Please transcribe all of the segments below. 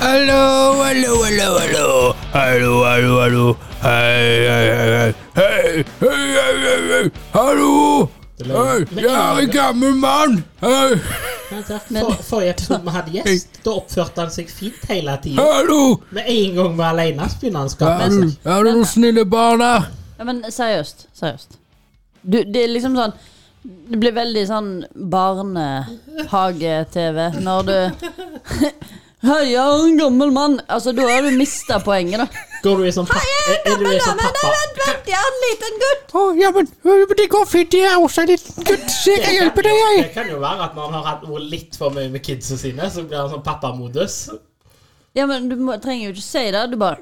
Hallo, hallo, hallo, hallo. Hallo, hallo, hallo. Hei, hei, hei, hei. Hei, hei, hei, hei, hei. Hallo. Hei, jeg er en gammel mann. Hei, For, forrige episode vi hadde gjest, da oppførte han seg fint hele tiden. hallo. Med en gang vi var alene, så begynner han å skape Er, seg. er det noen snille barn her? Ja, men seriøst. Seriøst. Du, det er liksom sånn Det blir veldig sånn barnehage-TV når du Hei, jeg er en gammel mann. Altså, da har du mista poenget, da. Går du i sånn pappa? Er du i sånn pappa? vent, jeg er en liten gutt. Å, ja, men øh, det går fint. Jeg er også en liten gutt. Så jeg kan hjelpe deg, jeg. Det kan jo være at når han har hatt ordet litt for mye med kidsa sine, så blir han sånn pappamodus. Ja, men du må, trenger jo ikke si det. Du bare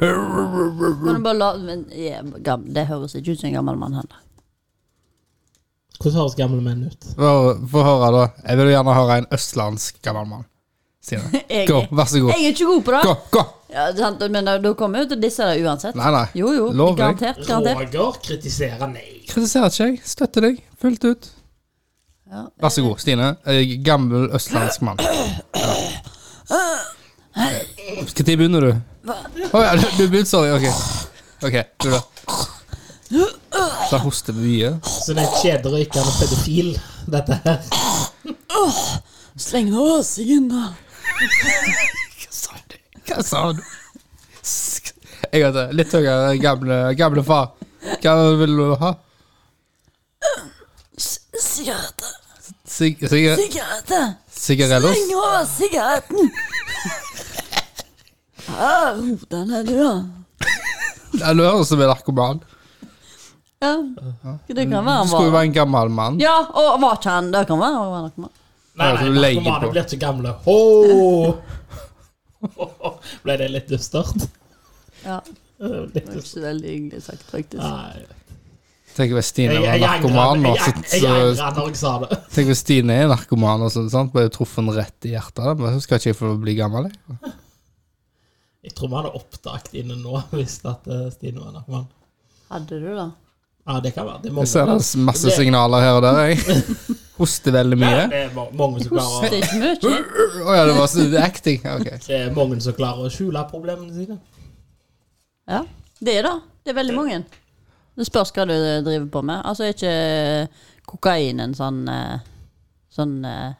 Kan du bare la men, jeg er gam- Det høres ikke ut som en gammel mann heller. Hvordan høres gamle menn ut? Få få høre, da. Jeg vil gjerne høre en østlandsk gammel mann. Stine. Jeg, Gå, vær så god. jeg er ikke god på det. Gå, gå! Ja, sant, men eh, da da kommer jeg jo til å disse det uansett. Nei, nei. Jo, jo. Lover. Garantert. garantert. Roger kritiserer nei. Kritiserer ikke jeg. Støtter deg fullt ut. Ja. Vær så god, Stine. Eh, Gammel østlandsk mann. Når begynner du? Å ja, du, du begynte, sorry. Ok. Ok, du da. Så jeg hoster mye. Så det er en kjederøykende pedofil, dette her. Sleng nåsingen, da. Hva sa du? Jeg vet det. Litt høyere, gamle, gamle far. Hva vil du ha? Sigarette. Sig sig Sigarette. Sigarellos? Sleng over sigaretten. Her, hodene du, da. Ja, Du høres ut som en narkoman. Ja, det kan være Du han skulle jo var være en gammel mann. Ja, og var ikke han Det kan være han var narkoman. Ja, Nei, så nei, du legger narkomane på. blir ikke gamle. Ho! Ble det litt dystert? Ja, Litt det er dystert. ikke veldig hyggelig sagt, faktisk. Nei. Tenk hvis Stine Jeg, var jeg, jeg, narkoman eh, nå. angrer- jeg, så- jeg, jeg så- angrer når jeg sa det. Tenk hvis Stine er narkoman og sånn, sant? ble truffet rett i hjertet. Da. Men så skal ikke jeg få bli gammel. Jeg. Jeg tror vi hadde oppdaget inne nå hvis at eh, Stine var narkoman. Hadde du det? Ja, det kan være. Det er jeg ser det mange, er masse signaler her og der. Jeg hoster veldig Nei, mye. det er ma- mange som Det klarer er å ikke mye. Å ja, det var så- det er acting. Ja, ok. det er mange som klarer å skjule problemene sine. Ja, det er det. Det er veldig mange. Det spørs hva du driver på med. Altså, er ikke kokain en sånn eh, Sånn eh,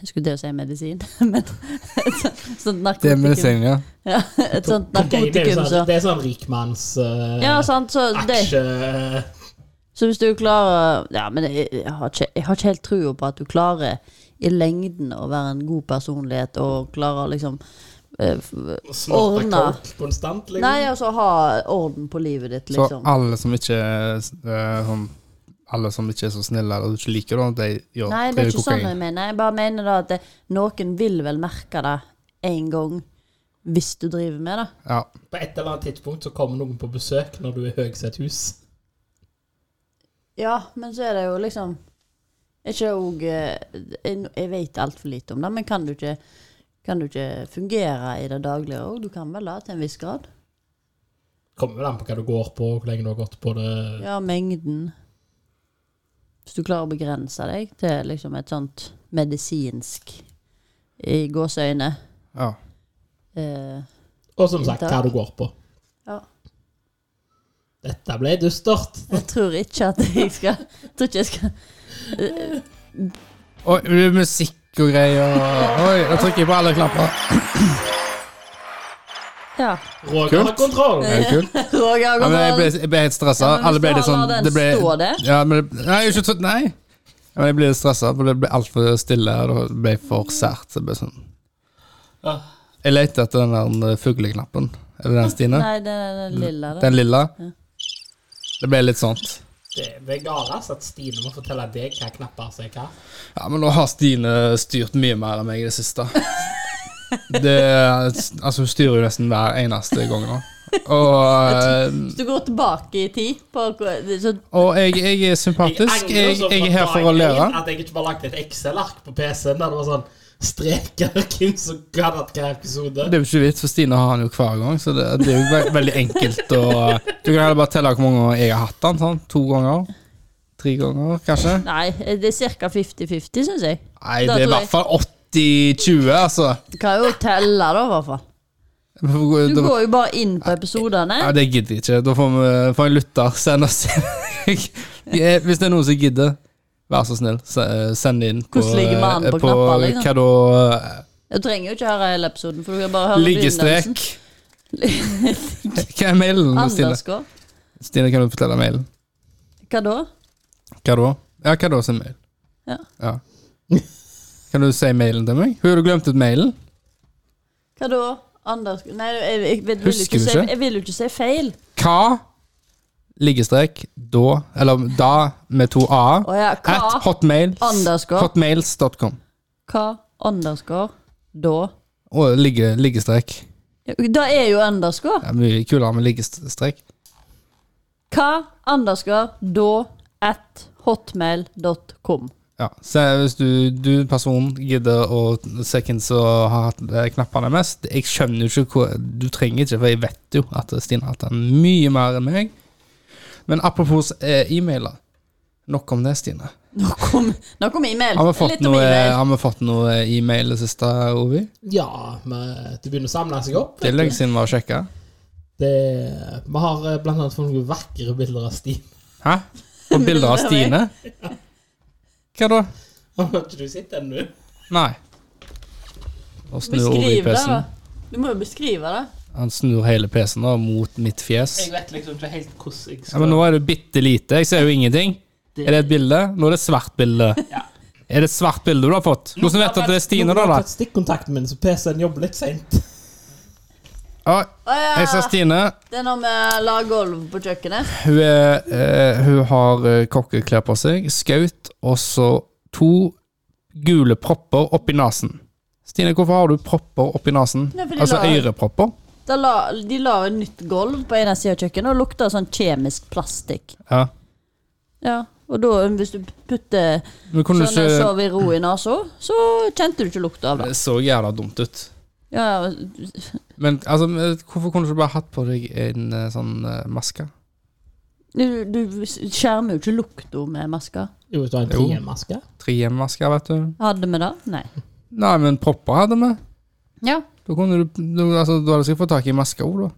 Jeg skulle til å si medisin, men sånn et sånt- sånt Det er narkotikum. medisin, ja. Ja, et sånt Det, det, er jo narkotikum, så sånn, det er sånn rikmanns eh, Ja, sant, så det aksje... eh, Så hvis du klarer Ja, men jeg, jeg, har ikke, jeg har ikke helt trua på at du klarer i lengden å være en god personlighet og klarer liksom eh, f- Snorte Ordna. coke konstant, liksom. Nei, altså ha orden på livet ditt, Så liksom. alle som ikke er sånn alle som ikke er så snille eller du ikke liker det, de gjør Nei, det er driver ikke sånn kokain. jeg mener. Jeg bare mener da at det, noen vil vel merke det en gang, hvis du driver med det. Ja. På et eller annet tidspunkt så kommer noen på besøk når du er høy i et hus. Ja, men så er det jo liksom er ikke òg eh, Jeg jeg vet altfor lite om det, men kan du ikke kan du ikke fungere i det daglige òg? Du kan vel det, til en viss grad? Kommer vel an på hva du går på, hvor lenge du har gått på det. Mm. Ja, mengden. Hvis du klarer å begrense deg til liksom et sånt medisinsk i gåseøyne ja. eh, Og som sagt, hva Inntak. du går på. Ja. Dette ble dystert. Jeg tror ikke at jeg skal Jeg tror ikke jeg skal Oi, det er musikk og greier. Oi, da trykker jeg på alle knapper. Ja. Roger har Kult. kontroll. Er det kult? Roger har Ja, gått men jeg ble, over. jeg ble helt stressa. Ja, men Alle ble hvis litt du sånn har den det ble, stå der? Ja, men det, nei, jeg er ikke sånn Nei. Ja, men jeg ble litt stressa, for det ble altfor stille, og det ble for sært. så Det ble sånn. Ja. Jeg lette etter den der eh, fugleknappen. Er det den, Stine? Nei, det er den lilla, det. Den lilla? Det ble litt sånt. Det ble galest at Stine må fortelle deg hva knapper som er hva. Ja, men nå har Stine styrt mye mer enn meg i det siste. Det, altså, hun styrer jo nesten hver eneste gang nå. Og eh, Hvis du går tilbake i tid på hva- det- så, Og jeg, jeg er sympatisk. angrer Jeg, så jeg er fra her dag for å lære. én At jeg ikke bare lagde et Excel-ark på PC-en der det var sånn streker hvem som hadde hatt hver episode. Det er jo ikke vits, for Stine har han jo hver gang, så det, det er jo ve veldig enkelt å Du kan heller bare telle hvor mange ganger jeg har hatt han. Sånn. To ganger? Tre ganger, kanskje? Nei, det er ca. 50-50, syns jeg. Nei, Da det er i tror jeg- hvert fall 80 90-20, altså. Du kan jo telle, da, i hvert fall. Du går jo bare inn på episodene. Ja, det gidder jeg ikke. Da får, vi, får en lytter sende oss Eh, Hvis det er noen som gidder, vær så snill, se- send det inn på, Hvordan ligger man på eh, knapper, liksom? Hva da? eh, Du trenger jo ikke høre hele episoden, for du kan bare liksom. høre Liggestrek? Hva er mailen, Stine? Andersgård. Stine, kan du fortelle mailen? Hva da? Hva da? Ja, hva da sin mail? Ja. Kan du si mailen til meg? Har du glemt ut mailen? Hva da? Anders... Nei, jeg, jeg, vil- vil, jo Husker ikke du si, ikke? jeg vil jo ikke si feil. Hva? Liggestrek, da, eller da med to a, Å ja, hva? at hotmails, Underscore. hotmails.com. Hva? Underscore? Da? Og ligge, liggestrek. Ja, Da er jo underscore. Det er mye kulere med liggestrek. Hva? Underscore? Da? At hotmail.com. Ja, så hvis du, du person gidder å se hvem som har hatt eh, knappene mest Jeg skjønner jo ikke hvor Du trenger ikke, for jeg vet jo at Stine har hatt den mye mer enn meg. Men apropos eh, e-mailer. Nok om det, Stine. Nå kom, nå kom e-mail. Har vi fått Litt om noe, e-mail. har vi fått noe e-mail det siste, Ovi? Ja, men det begynner å samle seg opp. Det er lenge siden vi har sjekka. Det, vi har eh, blant annet fått noen vakre bilder av Stine. Hæ? På bilder av Stine? Hva da? Har ikke du sett den, du? Nei. Og snur Ovi Beskriv det, da. PC-en. Du må jo beskrive det. Han snur hele PC-en da, mot mitt fjes. Jeg vet liksom ikke helt hvordan jeg Ja, skal men nå er det bitte lite. Jeg ser jo ingenting. Er det et bilde? Nå er det et svart bilde. Ja. Er det et svart bilde du har fått? Hvordan vet du at det er Stine, da? da? tatt stikkontakten min, så PC-en jobber litt seint. Å, Å ja. jeg ser Stine. Det er når vi la gulv på kjøkkenet. Hun, er, eh, hun har eh, kokkeklær på seg, skaut og så to gule propper oppi nesen. Stine, hvorfor har du propper oppi nesen? Nei, for de Altså la- ørepropper? Da la, de la et nytt gulv på ene sida av kjøkkenet, og lukta sånn kjemisk plastikk. Ja. Ja, Og da, hvis du putter Men sånn kunne du jeg ikke sov i ro i nesa, så kjente du ikke lukta av det. Det så jævla dumt ut. Ja, ja, Men altså, hvorfor kunne du ikke bare hatt på deg en eh, sånn eh, maske? du, du skjermer jo ikke lukta med maska. Jo, hvis du har en Jo. 3M-maske. Trehjemmaske, vet du. Hadde vi det? Nei. Nei, men propper hadde vi. Ja. Da kunne du, du, altså, du hadde sikkert fått tak i maska òg, da.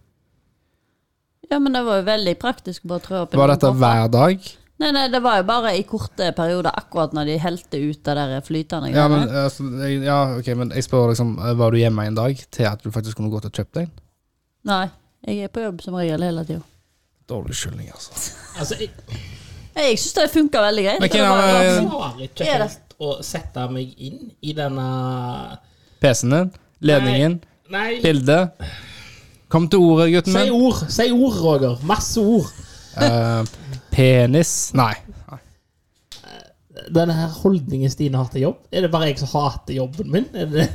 ja, men det var jo veldig praktisk å bare trå opp i Var noen dette kopper. hver dag? Nei, nei, det var jo bare i korte perioder, akkurat når de helte ut det der flytende Ja, greiene. men, altså, jeg- ja, ok, men jeg spør liksom, var du hjemme en dag til at du faktisk kunne gått og kjøpt deg en? Nei, jeg er på jobb som regel hele tida. Dårlig skyldning, altså. Altså, jeg, Jeg syns det funka veldig greit. Men eh, Det hvem var er- bare- jeg klarer ikke Er det- helt å sette meg inn i denne PC-en din, ledningen, Nei, bildet. Kom til ordet, gutten si min. ord. Si ord, Roger. Masse ord. Eh, penis Nei. Denne her holdningen Stine har til jobb. Er det bare jeg som hater jobben min? Er det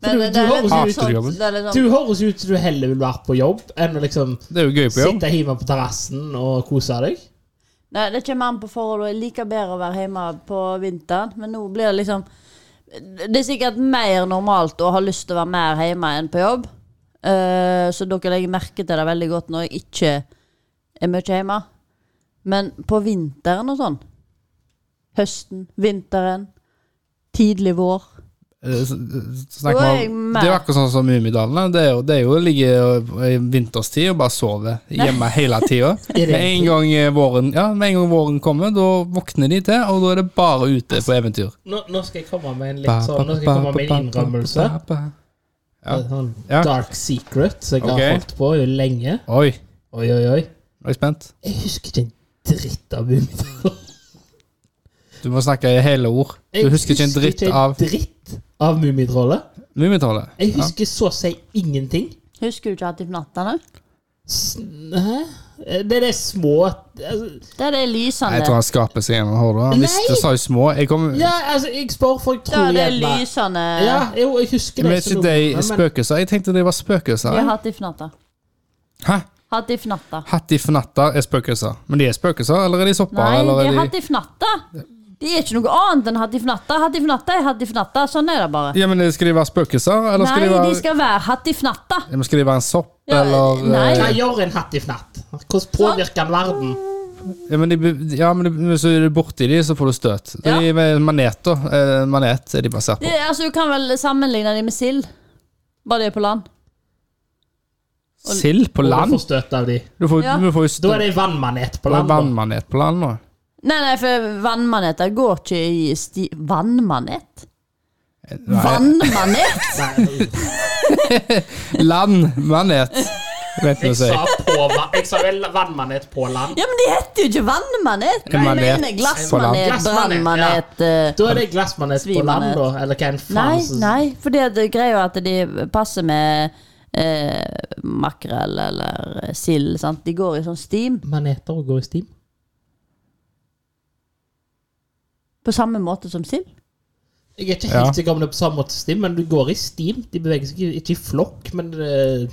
Men det, det er litt Hater sånn- du jobben? det er litt sånn Du høres ut som du heller vil være på jobb enn å liksom Det er jo gøy på jobb. sitte hjemme på terrassen og kose deg. Nei, det kommer an på forhold, og jeg liker bedre å være hjemme på vinteren, men nå blir det liksom Det er sikkert mer normalt å ha lyst til å være mer hjemme enn på jobb, Eh, så dere legger merke til det veldig godt når jeg ikke er mye hjemme. Men på vinteren og sånn Høsten, vinteren, tidlig vår Eh, s- Snakk Da er jeg om, med. det er jo akkurat sånn som Mummidalene. Det er jo, det er jo å ligge i vinterstid og bare sove hjemme hele tida. Er det Med en gang eh, våren Ja, med en gang våren kommer, da våkner de til, og da er det bare ute på eventyr. Nå, nå skal jeg komme med en litt sånn Nå skal jeg komme med en innrømmelse. Ja. En sånn Ja. dark secret som jeg Ok. har holdt på i lenge. Oi, nå Oi, oi, oi. er jeg spent. Jeg husker ikke en dritt av Mummidalen. Du må snakke i hele ord. Du Jeg husker ikke en dritt ikke en av dritt av Mummitrollet. Mummitrollet? Jeg husker så å si ingenting. Husker du ikke at de fnattene? S- Hæ? Eh, Det er det små altså, Det er det Nei, lysende. Jeg tror han skaper seg gjennom hodet. Han visste sa jo små. Jeg kom, Ja, altså, jeg spør, for jeg Det tror er det gjerne lysende Ja, jo, jeg husker men det. er som ikke de noe, men- spøkelser? Jeg tenkte de var spøkelser. Jeg har hatt de fnatta. Hæ? Hatt de fnatta. Hatt i fnatter er spøkelser. Men de er spøkelser, eller er de sopper? Nei, eller de er er de... hattifnatta. Det er ikke noe annet enn hattifnatta. Hattifnatta er hattifnatta. Sånn er det bare. Ja, men Skal de være spøkelser, eller Nei, skal de de være skal være hattifnatta. Ja, men Skal de være en sopp, Ja, eller nei. eh, Hva gjør en hatt i fnatt? Hvordan påvirker den verden? Ja, men, de, be- ja, men de, hvis du er borti de, så får du støt. De Ja. er med maneter. Eh, manet er de basert på. Det, altså, du kan vel sammenligne de med sild, bare de er på land. Sild på Og du land? får støt av de. Du får, Ja. du får jo Da er støt. det en vannmanet Det på er land. da. vannmanet på land nå. Nei, nei, for vannmaneter går ikke i sti... Vannmanet? Nei, Vannmanet? Nei, Landmanet, vet du jeg å si. sa på va- Jeg sa vel vannmanet på land. Ja, men de heter jo ikke vannmanet! En Jeg manet på mener land. glassmanet, Glassmanet, brannmanet eh, Da er det glassmanet på land, Svimanet. da. Eller hva en faen Nei, som- nei, for det greia er at de passer med eh, makrell eller sild. sant? De går i sånn steam Maneter og går i stim. på samme måte som sild. Jeg er ikke Ja. helt sikker om det er på samme måte som stim, men du går i stim. De beveger seg ikke- ikke i flokk, men eh,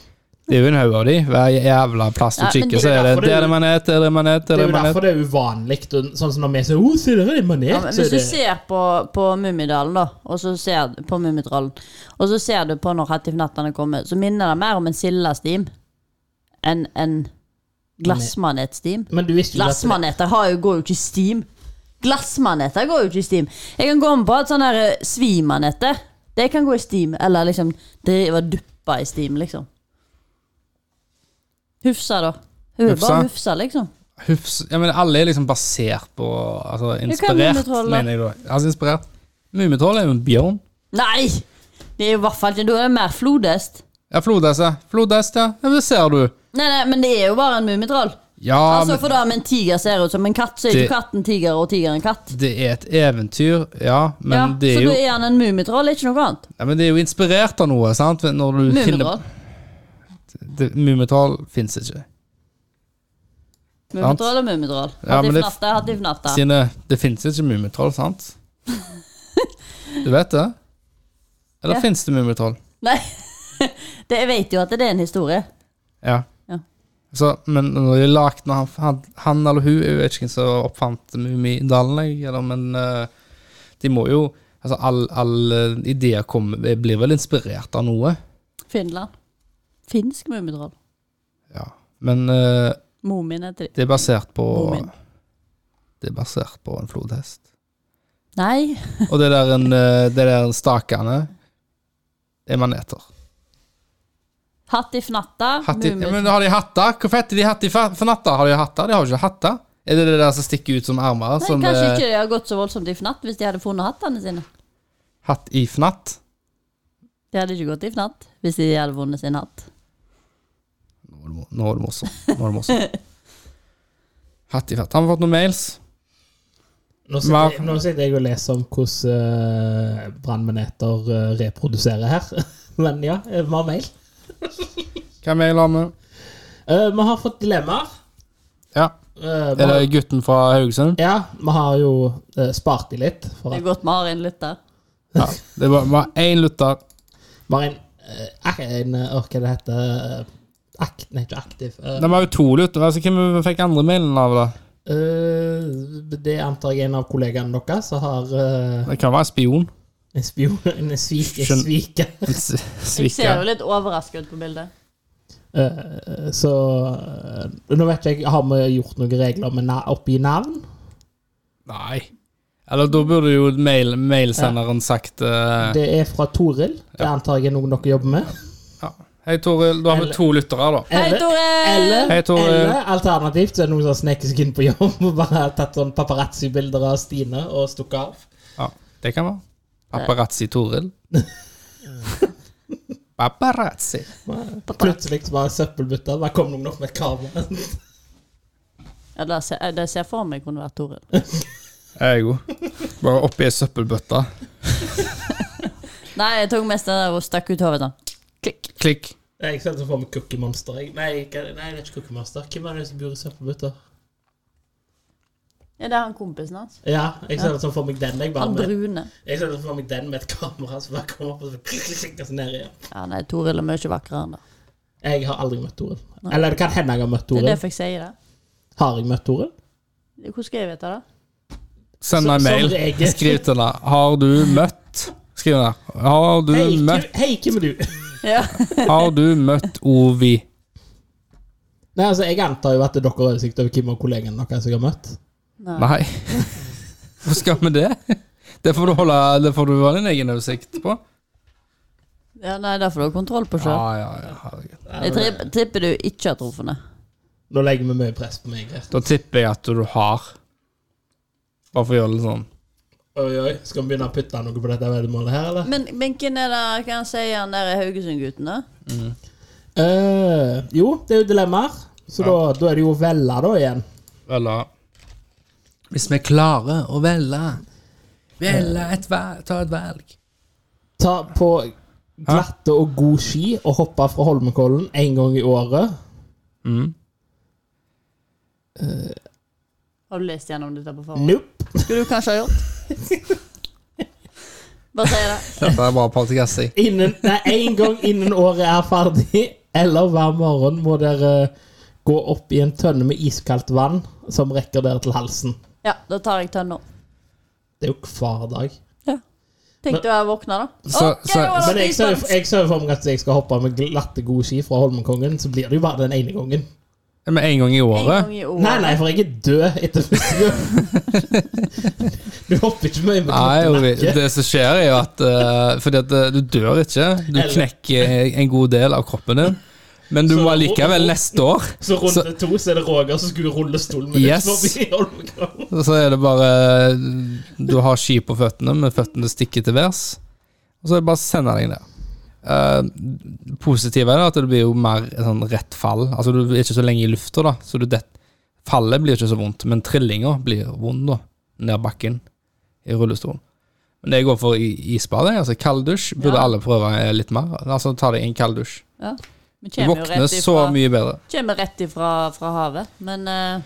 Det er jo en haug av de. Hver jævla plass du Ja, men kikker, det- så er det derfor det- Der er det manet, der er det manet, det der er er jo det manet. derfor det er uvanlig. og Sånn som når vi sier 'Å, se der er en manet', Ja, men så hvis er du det ser på, på Mummidalen, da, og så ser du på Mummitrollen, og så ser du på når Hattifnattene kommer, så minner det mer om en sildestim enn en glassmanetstim. Men du visste jo at Glassmaneter har jo, går jo ikke i steam. Glassmaneter går jo ikke i steam. Jeg kan gå med på at sånne her, eh, svimaneter De kan gå i steam, eller liksom drive og duppe i steam, liksom. Hufsa, da. Hun er Hufsa? bare hufsa, liksom. Hufs. Ja, men alle er liksom basert på Altså inspirert, Mummitrollet? mener jeg da. Altså inspirert. Mummitroll er jo en bjørn. Nei! Det er jo i hvert fall ikke Da er det mer flodhest. Ja, flodhest, ja. Flodhest, ja. ja. men Det ser du. Nei, nei, men det er jo bare en mummitroll. Ja, altså, men for da om en tiger ser ut som en katt, så er Det- ikke katten tiger og tigeren katt. det er et eventyr, ja. Men, Ja, det, så er jo, da er han en mummitroll, ikke noe annet. ja, men det er jo inspirert av noe, sant? Når du finner Mummitroll. det- Mummitroll fins ikke. Mummitroll og mummitroll. Ja, men det- Hattifnatta, hattifnatta. Sine, det fins ikke mummitroll, sant? Du vet det? Eller Ja. finnes fins det mummitroll? Nei, det, jeg vet jo at det er en historie. Ja. Ja. Så, men når de lagt, når han, han, han eller hun Jeg vet ikke hvem som oppfant Mummidalen, jeg, eller, men eh, de må jo Altså, alle all, eh, ideer kommer- blir vel inspirert av noe. Finland. Finsk mummitroll. Ja. Men eh, Mumin heter de. det er basert på Mumin. Det er basert på en flodhest. Nei, Og det der, en, eh, det der stakene er maneter. hattifnatta, Hatt i, ja, mummitroll. men har de hatter? Hvor fett er de hatt i fa- for natta? Har de hatter? De har jo ikke hatter. Er det det der som stikker ut som armer? Nei, som kanskje eh, ikke de har gått så voldsomt i fnatt hvis de hadde funnet hattene sine. hatt i fnatt? De hadde ikke gått i fnatt hvis de hadde vunnet sin hatt. Nå er det mo- nå er det morsomt. Nå er det morsomt. Hatt i fnatt. Har vi fått noen mails? Nå sitter, jeg, nå sitter jeg og leser om hvordan uh, brannmaneter eh, reproduserer her. Men ja, eh, vi har mail. Hva mail har vi? Eh, vi har fått dilemmaer. Ja. Eh, vi Er har, det gutten fra Haugesund? ja, vi har jo eh, spart de litt. For Det at er godt vi har en lytter. Ja. Det var var én lytter. vi har en, eh, ak- en eh, Hva det heter eh, ak, Nei, ikke aktiv. eh, Det var jo to lyttere. Altså, hvem fikk andre mailen av? da? eh, det antar jeg er en av kollegaene deres som har eh, Det kan være en spion. en spion, en svik, en Skjønn- sviker. En s- Jeg ser jo Sviker. litt overrasket ut på bildet. Eh, Så eh, Nå vet jeg, har vi gjort noen regler med na oppi navn? Nei. Eller da burde jo mail, mailsenderen sagt eh, Det er fra Toril. Det antar jeg er noen dere jobber med. Ja. Hei, Toril. Da har vi Eller- to lyttere, da. Hei, Eller, Toril! eller, Hei, Toril. eller alternativt så er det noen som sneker seg inn på jobb og bare har tatt sånn paparazzi-bilder av Stine og stukket av. Ja, det kan være. Paparazzi Toril. Paparazzi. Plutselig så bare søppelbytter. Bare kom noen opp med et kamera. Ja, det ser, eh, det ser for meg kunne vært Toril. Jeg er god. Bare oppi ei søppelbøtte. Nei, jeg tok mest den der og stakk ut hodet sånn. Klikk. Klikk. Jeg ser for meg Cookie Monster. Jeg. Nei, ikke- nei, det er ikke Cookie Monster. Hvem er det som bor i søppelbytter? Ja, det er han kompisen hans. Ja, jeg ser det for meg den. Jeg, bare Han med, brune. jeg ser det for meg den med et kamera som bare kommer opp og så klikk, klikk, klikk, og så ned igjen. Ja, nei, Toril er mye vakrere enn det. Jeg har aldri møtt Toril. Eller det kan hende jeg har møtt Det er Toril. derfor jeg sier det. Har jeg møtt Toril? Hvordan skal jeg vite det? Send Som- meg en som mail. regel. Skriv til henne. Har du møtt Skriv der. Har du Hei, hvem- møtt hei, hvem er du? Ja. Har du møtt Ovi? Nei, altså, Jeg antar jo at dere har oversikt over hvem av kollegene deres jeg har møtt. Nei. Nei. Hvorfor skal vi det? Det får du holde Det får du ha din egen oversikt på. Ja, nei, det får du ha kontroll på Ja, sjøl. ja, ja, herregud. Jeg tri- tipper du ikke har truffet henne. Nå legger vi mye press på meg. Resten. Da tipper jeg at du har Bare for å gjøre det sånn. Oi, oi, Skal vi begynne å putte noe på dette veddemålet her, eller? Men, men hvem er det Hva han sier han der er Haugesund-gutten, da? Eh, jo, det er jo dilemmaer. Så da, da er det jo å velge, da, igjen. Eller Hvis vi klarer å velge Velge et valg, ta et valg. Ta på glatte og god ski og hoppe fra Holmenkollen én gang i året. Mm. Har du lest gjennom dette på forhånd? Nope. Skulle du kanskje ha gjort? Bare si det. Dette er bra podcast, jeg. Innen, nei, en gang innen året er ferdig. Eller hver morgen må dere eh, gå opp i en tønne med iskaldt vann som rekker dere til halsen. Ja, da tar jeg tønna. Det er jo hver dag. Tenkte jeg våkna, da. Så- Å, så- hva var det Men jeg som ser gikk jeg ser for meg at jeg skal hoppe med glatte, gode ski fra Holmenkollen, så blir det jo bare den ene gangen. Med en gang i en gang året? i året? Nei, nei, for jeg er død etter første gang. Du hopper ikke mye med Nei, glatte jo, vi- nakke. det som skjer, er jo at eh, Fordi at eh, du dør ikke. Du Eller- knekker en god del av kroppen din. Men du Så- må likevel neste år Så runde så- to så er det Roger som skulle rulle stolen min Yes. ut forbi Holmenkollen. Og så er det bare Du har ski på føttene, men føttene stikker til værs. Og så er det bare å sende deg ned. Uh, positive er det at det blir jo mer et sånn rett fall. Altså Du er ikke så lenge i lufta, da. Så du det, fallet blir ikke så vondt, men trillinga blir vond, da. Ned bakken i rullestolen. Men det jeg går for i isbad, er altså kalddusj. Burde Ja. alle prøve eh, litt mer. Altså ta deg en kalddusj. Ja. Vi Du kommer jo våkner rett så ifra, mye bedre. kommer rett ifra fra havet, men eh,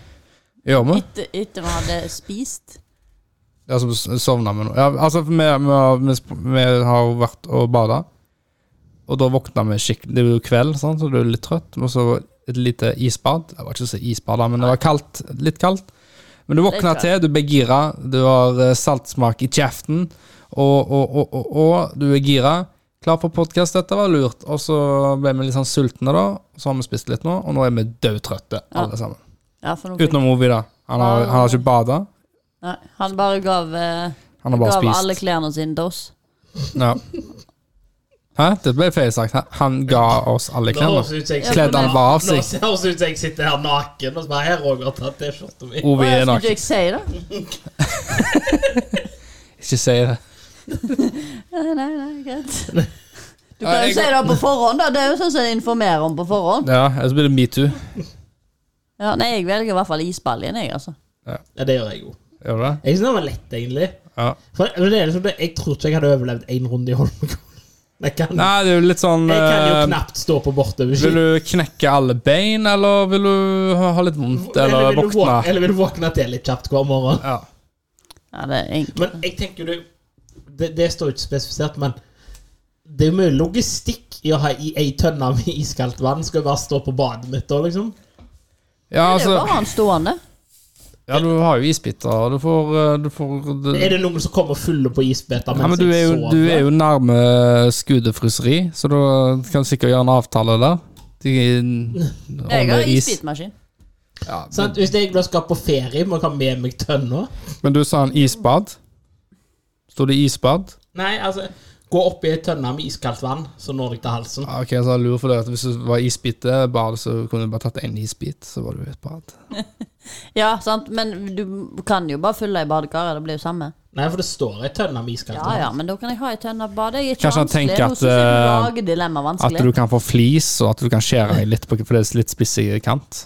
Gjør vi? etter etter vi hadde spist Ja, som s- sovna med noe. Ja, altså, vi, vi, har- vi, sp- vi har jo vært og bada, og da våkna vi skikkelig Det er jo kveld, sant, så du er litt trøtt, og så et lite isbad. Det var ikke så isbad, da, men det var kaldt. Litt kaldt. Men du våkna Litt kaldt. til, du blir gira, du har eh, saltsmak i kjeften, og, og, og, og, og du er gira. Klar for podkast, dette var lurt. Og så ble vi litt sånn sultne, da. Så har vi spist litt nå, og nå er vi dødtrøtte, Ja. Ah. alle sammen. ja, for nå fikk- Utenom Ovi, da. Han har, han har ikke bada. Nei, Han bare gav, eh, Han har bare gav alle spist. klærne sine til oss. Ja. Hæ? Det ble feil sagt. Han ga oss alle Nå klærne. høres det ut som jeg Ja, sitter- Kledde han bare av seg. Nå høres det ut som jeg sitter her naken og så bare Her, Roger, ta T-skjorta mi. Ovi Å, ja, er Skulle ikke naken. jeg si det? Ikke si det. Nei, nei, nei, greit. Du Ja, kan jeg jo si det på forhånd, da. Det er jo sånn som de informerer om på forhånd. Ja, ellers blir det metoo. Ja, nei, jeg velger i hvert fall isbaljen, jeg, altså. Ja, det gjør jeg jo. Gjør du det? Jeg syns den var lett, egentlig. Ja. For det- det er liksom det, Jeg tror ikke jeg hadde overlevd én runde i Holmenkollen. Jeg, kan- Nei, det er jo litt sånn jeg kan jo eh, knapt stå på bortoverski. Vil du knekke alle bein, eller vil du ha ha litt vondt, eller vil du våk- våkne? eller vil du våkne til litt kjapt hver morgen? Ja. Ja, det er enkelt. Men jeg tenker jo det, det Det står jo ikke spesifisert, men det er jo mye logistikk i å ha i ei tønne med iskaldt vann. Skal jeg bare stå på badet mitt da, liksom? ja, Det er altså jo bare han stående. Ja, du har jo isbiter, og du får, eh, du får du, Er det noen som kommer fulle på isbeter ja, men mens du er, jeg jo, sover? du er jo nærme skudefryseri, så du kan sikkert gjøre en avtale der. De, Jeg om har is. isbitmaskin. Ja, Sant? Hvis jeg da skal på ferie, må jeg ha med meg tønna? Men du sa en isbad. Sto det isbad? Nei, altså Gå opp i ei tønne med iskaldt vann, så når deg til halsen. Ja, Ok, så jeg lurer for det at Hvis det var isbite, bad, så kunne du bare tatt én isbit, så var du i et bad. Ja, sant, men du kan jo bare fylle i badekaret. Det blir jo samme. Nei, for det står ei tønne med iskaldt Ja vann. ja, men da kan jeg ha ei tønne og bade. Jeg er ikke Kanskje han vanskelig. tenker Noen som at, sier eh, lager dilemma At vanskelig. du kan få flis, og at du kan skjære i litt på for det er litt spissig kant.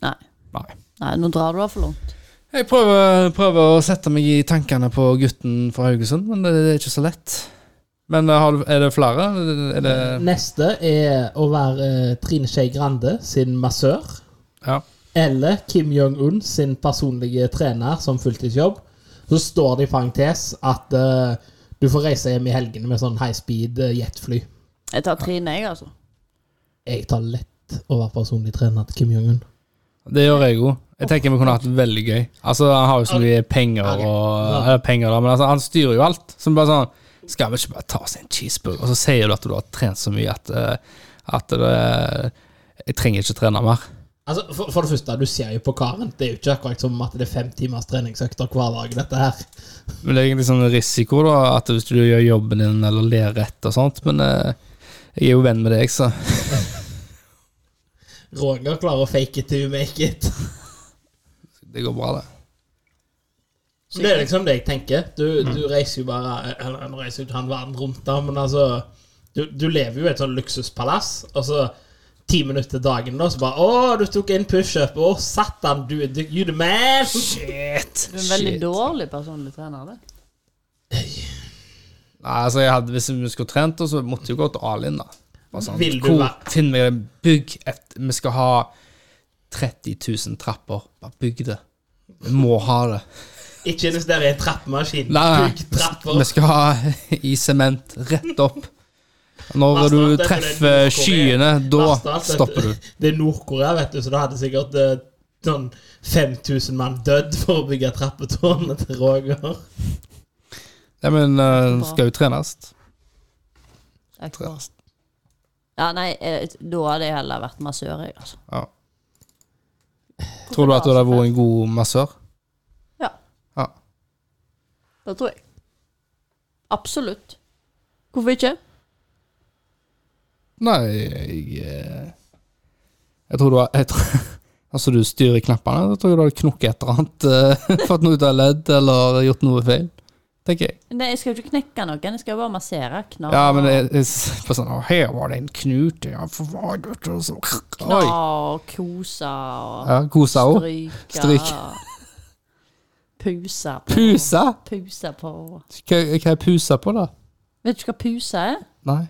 Nei. Nei. Nei, nå drar du av for langt. Jeg prøver, prøver å sette meg i tankene på gutten fra Haugesund, men det, det er ikke så lett. Men eh, har du, er det flere? Er det, Neste er å være eh, Trine Skei Grande sin massør. ja. Eller Kim Jong-un sin personlige trener som fulltidsjobb. Så står det i parentes at eh, du får reise hjem i helgene med sånn high speed eh, jetfly. Jeg tar Trine, jeg, altså. Jeg tar lett å være personlig trener til Kim Jong-un. Det gjør jeg òg. Jeg tenker vi kunne hatt det veldig gøy. Altså, Han har jo så mye penger, og, eller penger da, men altså, han styrer jo alt. Så bare sånn Skal vi ikke bare ta oss en cheeseburger? Og så sier du at du har trent så mye at, eh, at det, Jeg trenger ikke trene mer. Altså, for, for det første, du ser jo på karen. Det er jo ikke akkurat som at det er fem timers treningsøkter hver dag. dette her. Men det er egentlig sånn risiko, da, at hvis du gjør jobben din eller ler rett og sånt, men eh, jeg er jo venn med deg, så Roger klarer å fake it to make it. det går bra, det. Så det er liksom det jeg tenker. Du, Mm. du reiser jo bare Eller han reiser jo ikke han verden rundt, da, men altså Du, du lever jo i et sånn luksuspalass, og så ti minutter dagen, da, så bare Å, du tok en pushup. Å, satan, du du- You the man! Shit! Du er en veldig shit. dårlig personlig trener, det. Nei, altså, jeg hadde, hvis vi skulle trent, så måtte jeg jo gått all in, da. Bare Sånn, Vil du hvor, være- Finn meg en bygg et Vi skal ha 30 000 trapper. Bare bygg det. Vi må ha det. Ikke invester i en trappemaskin. Nei, Bygg vi trapper. skal ha i sement rett opp. Når Mest av du alt er det treffer Nord-Korea. skyene, Mest av da alt er det- stopper du. Det er Nord-Korea, vet du, så da hadde sikkert eh, sånn 5000 mann dødd for å bygge trappetårnet til Roger. Ja, men eh, skal jo trenes. Det er ikke bra. trenes. Ja, nei, eh, da hadde jeg heller vært massør, jeg, altså. Ja. Tror du at du hadde vært en god massør? Ja. Ja. Det tror jeg. Absolutt. Hvorfor ikke? Nei, jeg eh, Jeg tror du har jeg tror, Altså, du styrer knappene. Da tror jeg du hadde knukket et eller annet. eh, Fått noe ut av ledd eller gjort noe feil. Tenker jeg. Nei, jeg skal jo ikke knekke noen, jeg skal jo bare massere. Kna. Ja, men jeg, jeg, s- på sånn, «Å, her var det en knute. Ja, for hva er dette?» Og så, Kna Oi. og kose og Ja, kosa òg. stryke. Stryk. Puse på. Puse? Puse på. Hva hva er puse på, da? Vet du hva puse er? Nei.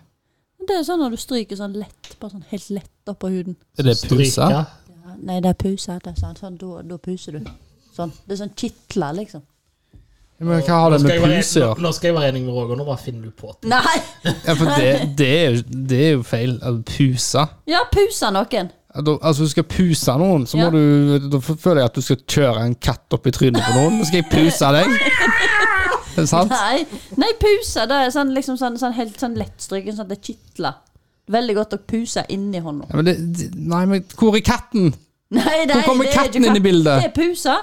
Det er sånn når du stryker sånn lett, bare sånn helt lett oppå huden. Er det puse? Stryke. Ja, nei, det er puse. Det er sånn, sånn da, da puser du. Sånn. Det er sånn kitler, liksom. Men hva har det Nå skal med jeg være- puse å gjøre? nå- Nå skal jeg være enig med Roger. Nå bare finner du på ting. Nei! Ja, for det, det, er, jo, det er jo feil. Altså, Puse. Ja, puse noen. Da- Altså, du skal puse noen, så må Ja. du Da føler jeg at du skal kjøre en katt opp i trynet på noen. Nå skal jeg puse deg! Er det sant? Nei, nei puse. Det er sånn, liksom sånn, sånn helt sånn lettstryken, sånn at det kitler. Veldig godt å puse inni hånda. Ja, men det, det- nei, men hvor er katten? Nei, nei, Hvor kommer det er katten ikke inn i bildet? Det er puse.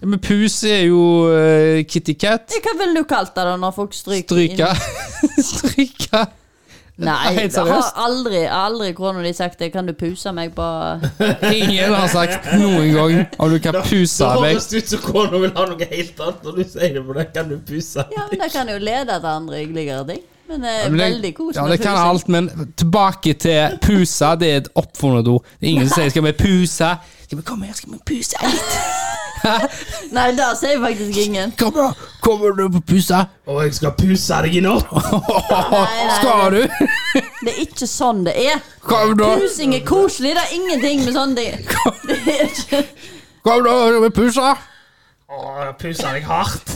Ja, men puse er jo eh, Kitty Cat. Hva ville du kalt det da når folk stryker? Stryke. Stryke. inn- Nei, Helt jeg har seriøst. aldri, aldri kroner de sagt det. Kan du puse meg på Ingen har sagt noen gang om du kan puse Da meg. høres det ut som kona vil ha noe helt annet når du sier det, for da kan du puse. Ja, men det kan jo lede til andre hyggeligere ting. Men det er Ja, men det- veldig koselig. Ja, å det kan puse. alt, men tilbake til pusa. Det er et oppfunnet ord. Det er ingen som sier 'skal vi puse'? Skal vi komme her, skal vi puse litt? Nei, det sier faktisk ingen. Kom da, kommer du på pusa? Og jeg skal puse deg i natt! nei. Skal du? Det er ikke sånn det er. Kom da, Pusing er koselig. Det er ingenting med sånn det, det er ikke, kom da, skal vi puse? Å, puse deg hardt.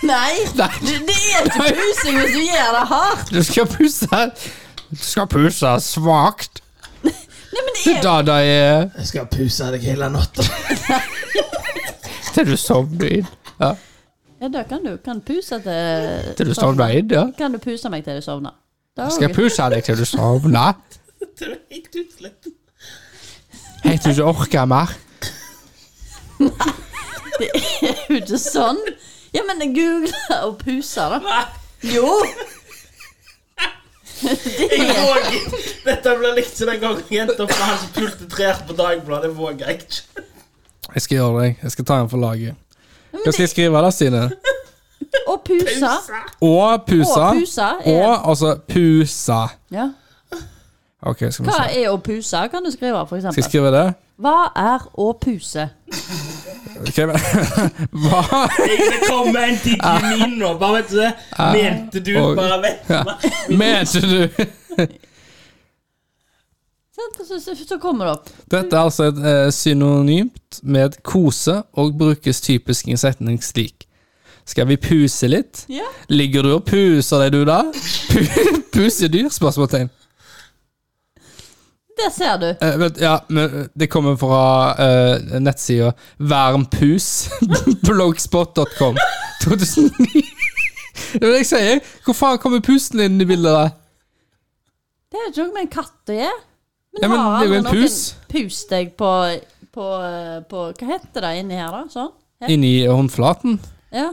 Nei, det, det er ikke pusing hvis du gjør det hardt. Du skal puse. Du skal puse svakt. Nei, men det Det er er da det er Jeg skal puse deg hele natta. til du sovner inn. Ja, Ja, da kan du kan puse til til du sovner inn, ja. Kan du puse meg til du sovner? Da Skal jeg puse deg til du sovner? Det er helt utslett. Helt til du ikke orker mer. er jo ikke sånn. Ja, men google og puse, da. Jo. Jeg våger. Dette blir likt som den gangen jenta fra han som pulte trær på Dagbladet. Det våger jeg ikke. Jeg skal gjøre det. jeg. Jeg skal ta den for laget. men Hva skal jeg skrive da, Stine? Og puse. Og pusa. Og pusa er- Og altså pusa. Ja. Ok, skal vi Hva se. er å puse, kan du skrive, for Skal jeg eksempel. skrive det? Hva er å puse? Ok, men Hva? Det kommer en tidlig min nå. Bare vet du det. Mente du, Og- bare vet du. Mente du Sant? Så, så, så kommer det opp. Dette er altså et eh, synonymt med kose og brukes typisk i en setning slik. Skal vi puse litt? Ja. Ligger du og puser deg, du, da? Pu- Pusedyr? Spørsmålstegn. Der ser du. Eh, vent, ja, men det kommer fra eh, nettsida varmpus. blogspot.com 2009. Det er det jeg sier. Hvor faen kommer pusen inn i bildet? da? Det er ikke noe med en katt å gjøre. Ja, men har det er jo aldri en noen pus. Pust deg på, på, på Hva heter det inni her, da? Sånn? Ja. Inni håndflaten. ja.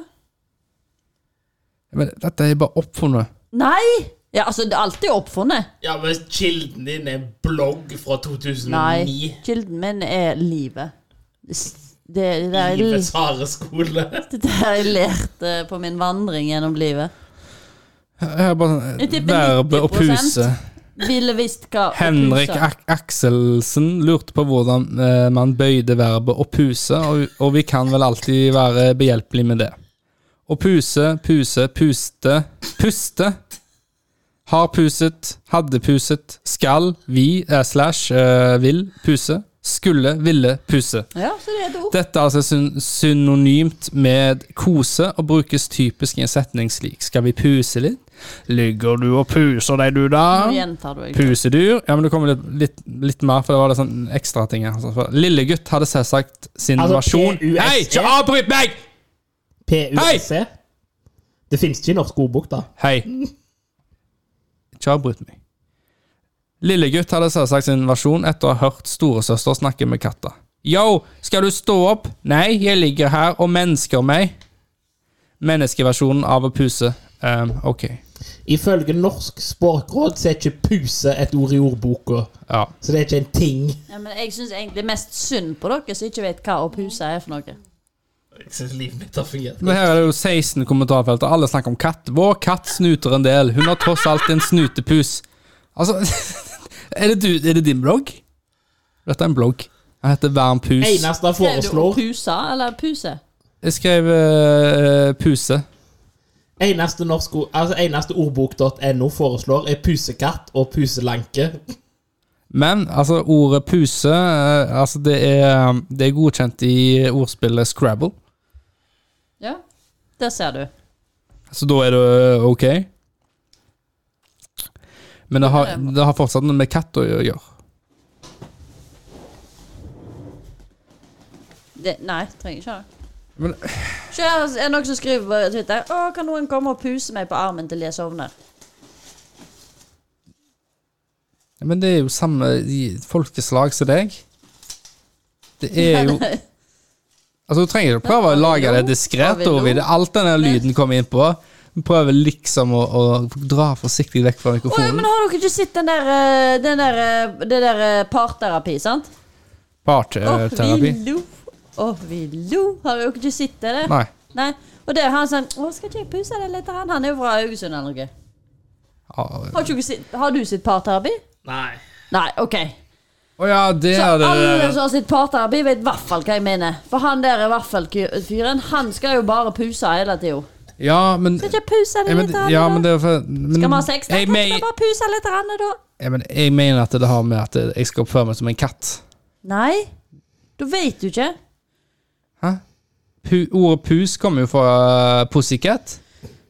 Men dette er bare oppfunnet. Nei! Ja, altså, det er alltid oppfunnet. Ja, men kilden din er en blogg fra 2009. Nei. Kilden min er livet. S- Det, det, er, Livets harde skole. det der jeg lærte på min vandring gjennom livet. Jeg har bare Jeg tipper verbet og 90% puse. Ville visst hva å Henrik puse. Ak Akselsen lurte på hvordan eh, man bøyde verbet å puse, og, og vi kan vel alltid være behjelpelige med det. Å puse, puse, puste, puste. Har puset, hadde puset, skal, vi, eh, slash, eh, vil, puse, skulle, ville, puse. Ja, så det er et ord. Dette er altså syn synonymt med kose og brukes typisk i en setning slik. Skal vi puse litt? Ligger du og puser deg, du da? Nå gjentar du ikke. Pusedyr? Ja, men det kommer litt, litt, litt mer, for det var litt sånn ekstra ting her. Altså, for Lillegutt hadde selvsagt sin Altså, versjon P-U-S-E. Hei, ikke avbryt meg! PUC. Det fins ikke i norsk ordbok, da. Hei. Ikke avbryt meg. Lillegutt hadde selvsagt sin versjon etter å ha hørt storesøster snakke med katta. Yo, skal du stå opp? Nei, jeg ligger her og mennesker meg. Menneskeversjonen av å puse. Um, ok. Ifølge Norsk språkråd så er ikke puse et ord i ordboka. Ja. Så det er ikke en ting. Ja, men jeg syns egentlig mest synd på dere som ikke vet hva å puse er for noe. Jeg syns livet mitt har fungert. Men her er det jo 16 kommentarfelt, og alle snakker om katt. Vår katt snuter en del. Hun har tross alt en snutepus. Altså Er det, du, er det din blogg? Dette er en blogg. Den heter Vern pus. Eneste han Skrev du å foreslår, puse eller puse? Jeg skrev eh, puse. eneste, norsk, ord- altså eneste ordbok.no foreslår, er pusekatt og puselanke. Men altså, ordet puse eh, altså, det, er, det er godkjent i ordspillet Scrabble. Ja, der ser du. Så da er det eh, ok. Men det har, det har fortsatt noe med katt å gjøre. Det, nei, trenger ikke ha det. Men- Se, her er det noen som skriver på Twitter Å, kan noen komme og puse meg på armen til jeg sovner? Men det er jo samme i- folkeslag som deg. Det er jo Altså, du trenger ikke prøve å lage det diskré, Har vi lo? Ovid. Alt den der lyden kommer inn på. Du prøver liksom å, å dra forsiktig vekk fra Å, ja, men mikrofonen. har dere ikke sett den der, eh, den der, eh, det der eh, parterapi, sant? Eh, Å, vi Parterapi. lo. Å, vi lo. Har dere ikke sett det? Nei. Nei. Og det er han sånn Å, skal ikke jeg puse deg litt? Han, han er jo fra Haugesund eller noe. Ja, Har, ikke dere sett- har du sett parterapi? Nei. Nei, OK. Å ja, det Så er det alle som har sitt parterapi, vet i hvert fall hva jeg mener. For han der er vaffelfyren. Han skal jo bare puse hele tida. Ja, men Skal ikke jeg puse ja, det men, litt? Anne, ja, da? men det er for men, skal vi ha sex? Nei, Jeg, kan ikke men, vi bare puse litt, Anne, da? ja, men jeg mener at det har med at jeg skal oppføre meg som en katt. Nei. Da vet du ikke. Pu, ordet pus kommer jo fra uh, pussycat.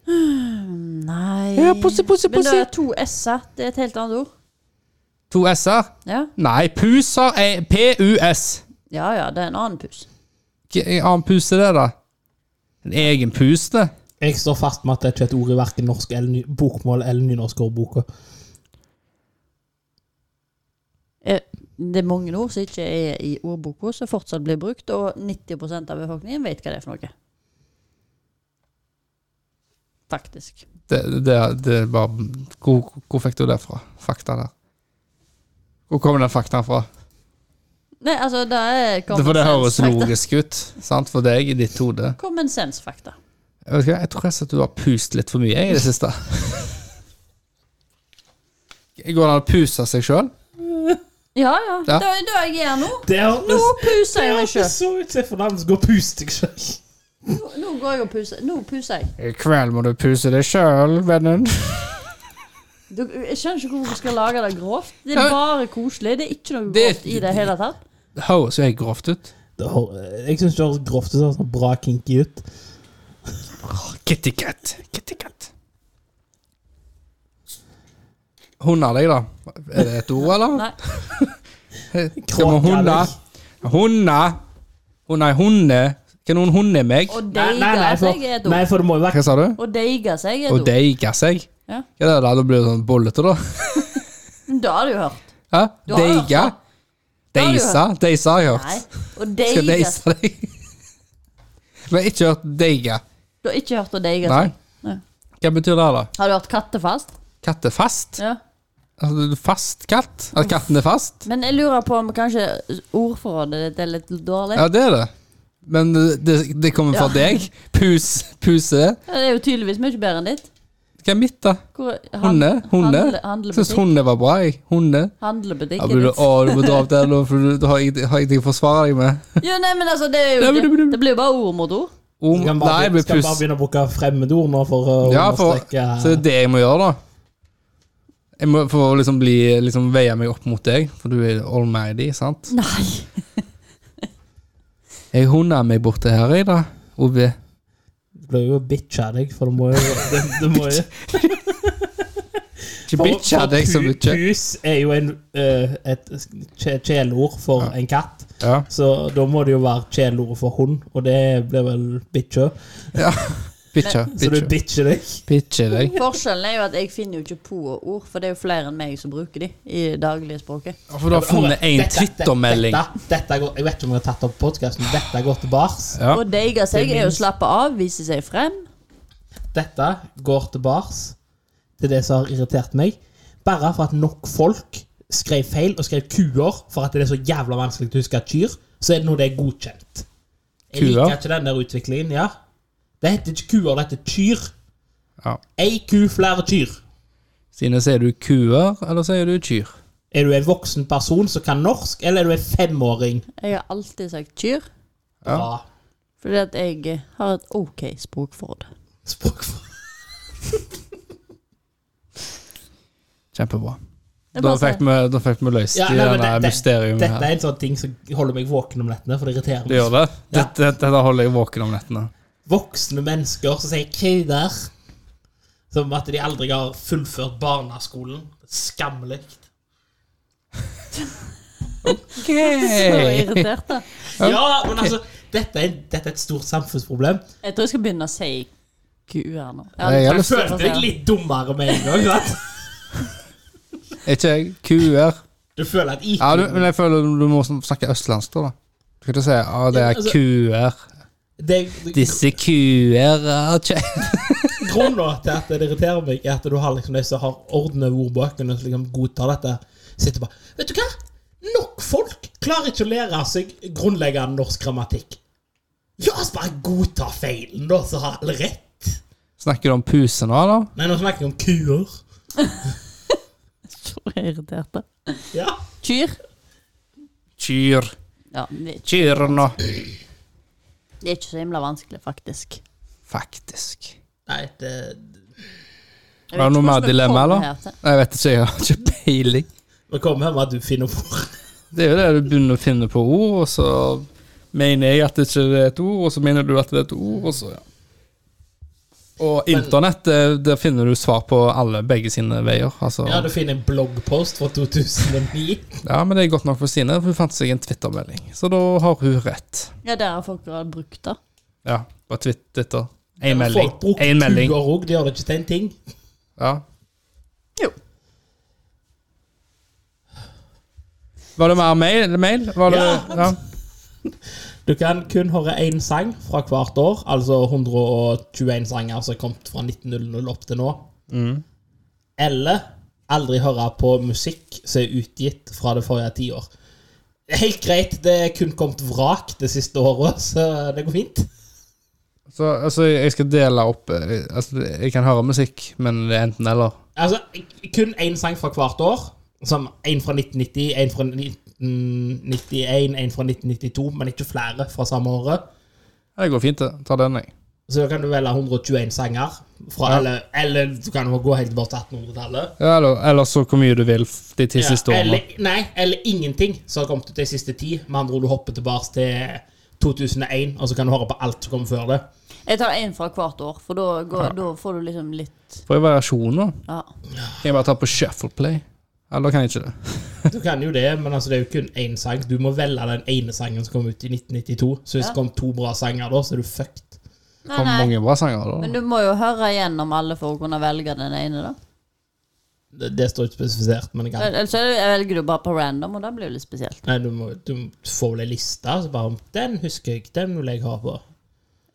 Nei. Ja, pussy, pussy, Men det pussy. er to s-er. Det er et helt annet ord. To s-er. Ja, Nei, pus har ei- P-U-S. ja, ja det er en annen pus. Hva en annen pus er det, da? En egen pus, det? Jeg står fast med at det er ikke et ord i verken norsk eller ny, bokmål eller nynorsk ordboka. Eh, Det er mange ord som ikke er i ordboka, som fortsatt blir brukt, og 90 av befolkningen vet hva det er for noe. Faktisk. Det, det, det er bare hvor, hvor fikk du det fra? Fakta der. Hvor kommer den faktaen fra? Nei, altså, det er Det, for det høres fakta. logisk ut sant, for deg i ditt hode. Common sense-fakta. Jeg, vet ikke, jeg tror kanskje at du har pust litt for mye jeg, i det siste. Går det an å puse seg sjøl? Ja, ja. Ja. Det er det jeg gjør nå. Det Nå hørtes puser jeg meg ikke sjøl. så ut som Fernandes går pust deg sjøl. Nå, nå går jeg og puser. Nå puser jeg. I kveld må du puse deg sjøl, vennen. Du, jeg skjønner ikke hvorfor vi skal lage det grovt. Det Ja, er men- bare koselig. Det er ikke noe Det- grovt i det hele tatt. Det høres jo helt grovt ut. Jeg syns det høres grovt ut. Sånn bra kinky ut. Kitty cat. Kitty cat. Hunder deg, da. Er det et ord, eller? Nei. Skal vi hunde? Hunde! Å nei, hunde. Kan noen hunde meg? Å Nei, nei, deige nei, seg er et for, nei, ord. for det må jo være Hva sa du? Å deige seg er Å et ord. deige seg? Ja. Hva er det da? Da blir det sånn bollete, da. Det har du hørt. Hæ? Du har hørt Deiga? det. Det har du Deisa? Deisa har jeg Nei. hørt. Og Skal deiga deise deg? Men jeg har ikke hørt deiga. Du har ikke hørt å deiga Nei. seg? Nei. Hva betyr det, da? Har du hørt kattefast? Kattefast? Ja. Altså, du er fast katt? At katten er fast? Men jeg lurer på om kanskje ordforrådet ditt er litt dårlig? Ja, det er det. Men det, det kommer fra Ja. deg. Pus, puse. Ja, Det er jo tydeligvis mye bedre enn ditt. Hva er mitt, da? Hvor- han- Hunde? Hunde? handle- Syns handlebutikk. hunde var bra, jeg. Hunde. Ja, Handlebutikken blir du, din. å, du må dra opp der nå, for du, du har ingenting har ingenting å forsvare deg med. Jo, nei, men altså, det, er jo, Nei, men- det, det blir jo bare ord mot ord. Om, Skal nei, bare, jeg blir skal bare pus. begynne å bruke fremmedord nå for å Ja, for, understreke så det er det jeg må gjøre, da. Jeg må få liksom bli liksom veie meg opp mot deg, for du er allmighty, sant? Nei. Jeg hunder meg borte her i dag, Ove. Du blir jo bitcha deg, for det må jo det, det må jo Ikke bitcha For- for deg så pu- mye. Pus er jo en, eh, et kje- kjæleord for Ja. en katt. Ja. Så da må det jo være kjæleordet for hund, og det blir vel bitcha. ja. Bitcha, Så du bitcha. bitcher deg. Bitcha deg. Forskjellen er jo at jeg finner jo ikke på-ord, for det er jo flere enn meg som bruker de i dagligspråket. Ja, For du har funnet én Dette- dette- twittermelding. Dette, dette går, jeg vet ikke om jeg har tatt opp podkasten. Dette går til bars. Ja. Og deiga seg Det er jo minst. slappe av, vise seg frem. Dette går til bars. Det er det som har irritert meg. Bare for at nok folk skrev feil og skrev kuer for at det er så jævla vanskelig å huske kyr, så er det nå det er godkjent. Jeg Kuer? liker ikke den der utviklingen. ja. Det heter ikke kuer, det heter kyr. Ja. Ei ku, flere kyr. Sine sier du kuer, eller sier du kyr? Er du en voksen person som kan norsk, eller er du en femåring? Jeg har alltid sagt kyr, Ja. Bra. fordi at jeg har et ok språkforråd. Språk Kjempebra. Det er Da bare fikk vi, da fikk vi løst Ja, i nei, men denne det- det- mysteriet Dette her. er en sånn ting som holder meg våken om nettene, for det irriterer Det gjør meg. det? Ja. Dette, dette holder jeg våken om nettene. Voksne mennesker som sier 'kuder', som at de aldri har fullført barneskolen. Skammelig. Så Hey. irritert, da. Ja, men altså, dette er, dette er et stort samfunnsproblem. Jeg tror jeg skal begynne å si kuer nå. Nei, jeg har Jeg lyst til følte deg litt dummere med en gang. sant? Ikke jeg. Kuer. Du føler at IQ Ja, du, men jeg føler du må sn- snakke østlandsk, da. da. Du kan ikke si at det Ja, er altså- kuer. det, det, Disse kuer er kje... Grunnen til at det irriterer meg, er at du har liksom de som har ordnet ordbøkene og liksom godtar dette, sitter bare Vet du hva? Nok folk klarer ikke å lære seg grunnleggende norsk grammatikk. La oss bare godta feilen, da, så har alle rett. Snakker du om puse nå, da? Nei, nå snakker jeg om kuer. Så irritert, da. Ja. Kyr. Kyr. Ja, det Kyr nå. det er ikke så himla vanskelig, faktisk. Faktisk. Nei, det Jeg Var det noe vet ikke mer hvordan vi dilemma, kommer da? her til- Jeg vet ikke, jeg har ikke peiling. Vi kommer her med at du finner ord. Det er jo det du begynner å finne på ord, og så mener jeg at det ikke er et ord, og så mener du at det er et ord, og så ja. Og internett, det- der finner du svar på alle begge sine veier. Altså. Ja, du finner en bloggpost fra 2009. Ja, men det er godt nok for Stine, for hun fant seg en Twitter-melding. Så da har hun rett. Ja, der har folk har brukt det. Ja, på Twit- Twitter. Én melding. Folk brukte En melding. kuer òg, de gjør det ikke til en ting. Ja. Jo. Var det mer mail? mail? Var det, Ja. ja. Du kan kun høre én sang fra hvert år, altså 121 sanger som er kommet fra 1900 opp til nå. Eller aldri høre på musikk som er utgitt fra det forrige tiår. Det er Helt greit, det er kun kommet vrak det siste året, så det går fint. Så altså, jeg skal dele opp eh, altså, Jeg kan høre musikk, men det er enten eller. Altså, kun én sang fra hvert år. Som én fra 1990, én fra 1991, én fra 1992, men ikke flere fra samme året. Ja, det går fint, det. Ta den, jeg. Så da kan du velge 121 sanger. Fra, Ja. eller, eller du kan jo gå helt tilbake til 1800-tallet. Ja, eller, eller så hvor mye du vil f- de ti Ja, siste årene. Eller, nei, eller ingenting som har kommet ut de siste ti. Med andre ord, du hopper tilbake til 2001, og så kan du høre på alt som kom før det. Jeg tar én fra hvert år, for da, går, da får du liksom litt Får jeg variasjon nå? Ja. Kan jeg bare ta på shuffle play? Eller kan jeg ikke det? Du kan jo det, men altså, det er jo kun én sang. Du må velge den ene sangen som kom ut i 1992. Så hvis Ja. det kom to bra sanger da, så er du fucked. Det kommer mange bra sanger da. Men du må jo høre gjennom alle for å kunne velge den ene, da. Det, det står ikke spesifisert, men det kan Eller så altså, velger du bare på random, og det blir jo litt spesielt. Nei, du, må, du får vel ei liste, så bare om Den husker jeg, den vil jeg ha på.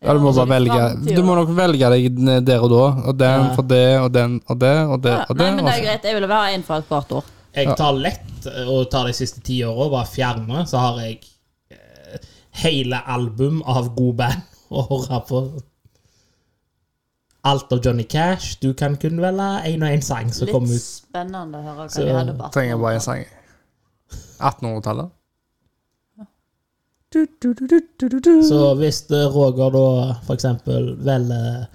Ja, du må altså, bare litt velge. framtid, Du må da. nok velge deg n- der og da. Og den Ja. for det, og den og det, og det Ja, og det. nei, men det er og- greit. Jeg ville ha en for hvert år. Jeg tar lett eh, og tar de siste ti åra, bare fjerne, så har jeg eh, hele album av gode band å høre på. Alt av Johnny Cash. Du kan kun velge én og én sang som kom Litt ut. spennende å høre hva Så- de hadde på Trenger bare en sang. 1800-tallet. Så hvis eh, Roger da for eksempel velger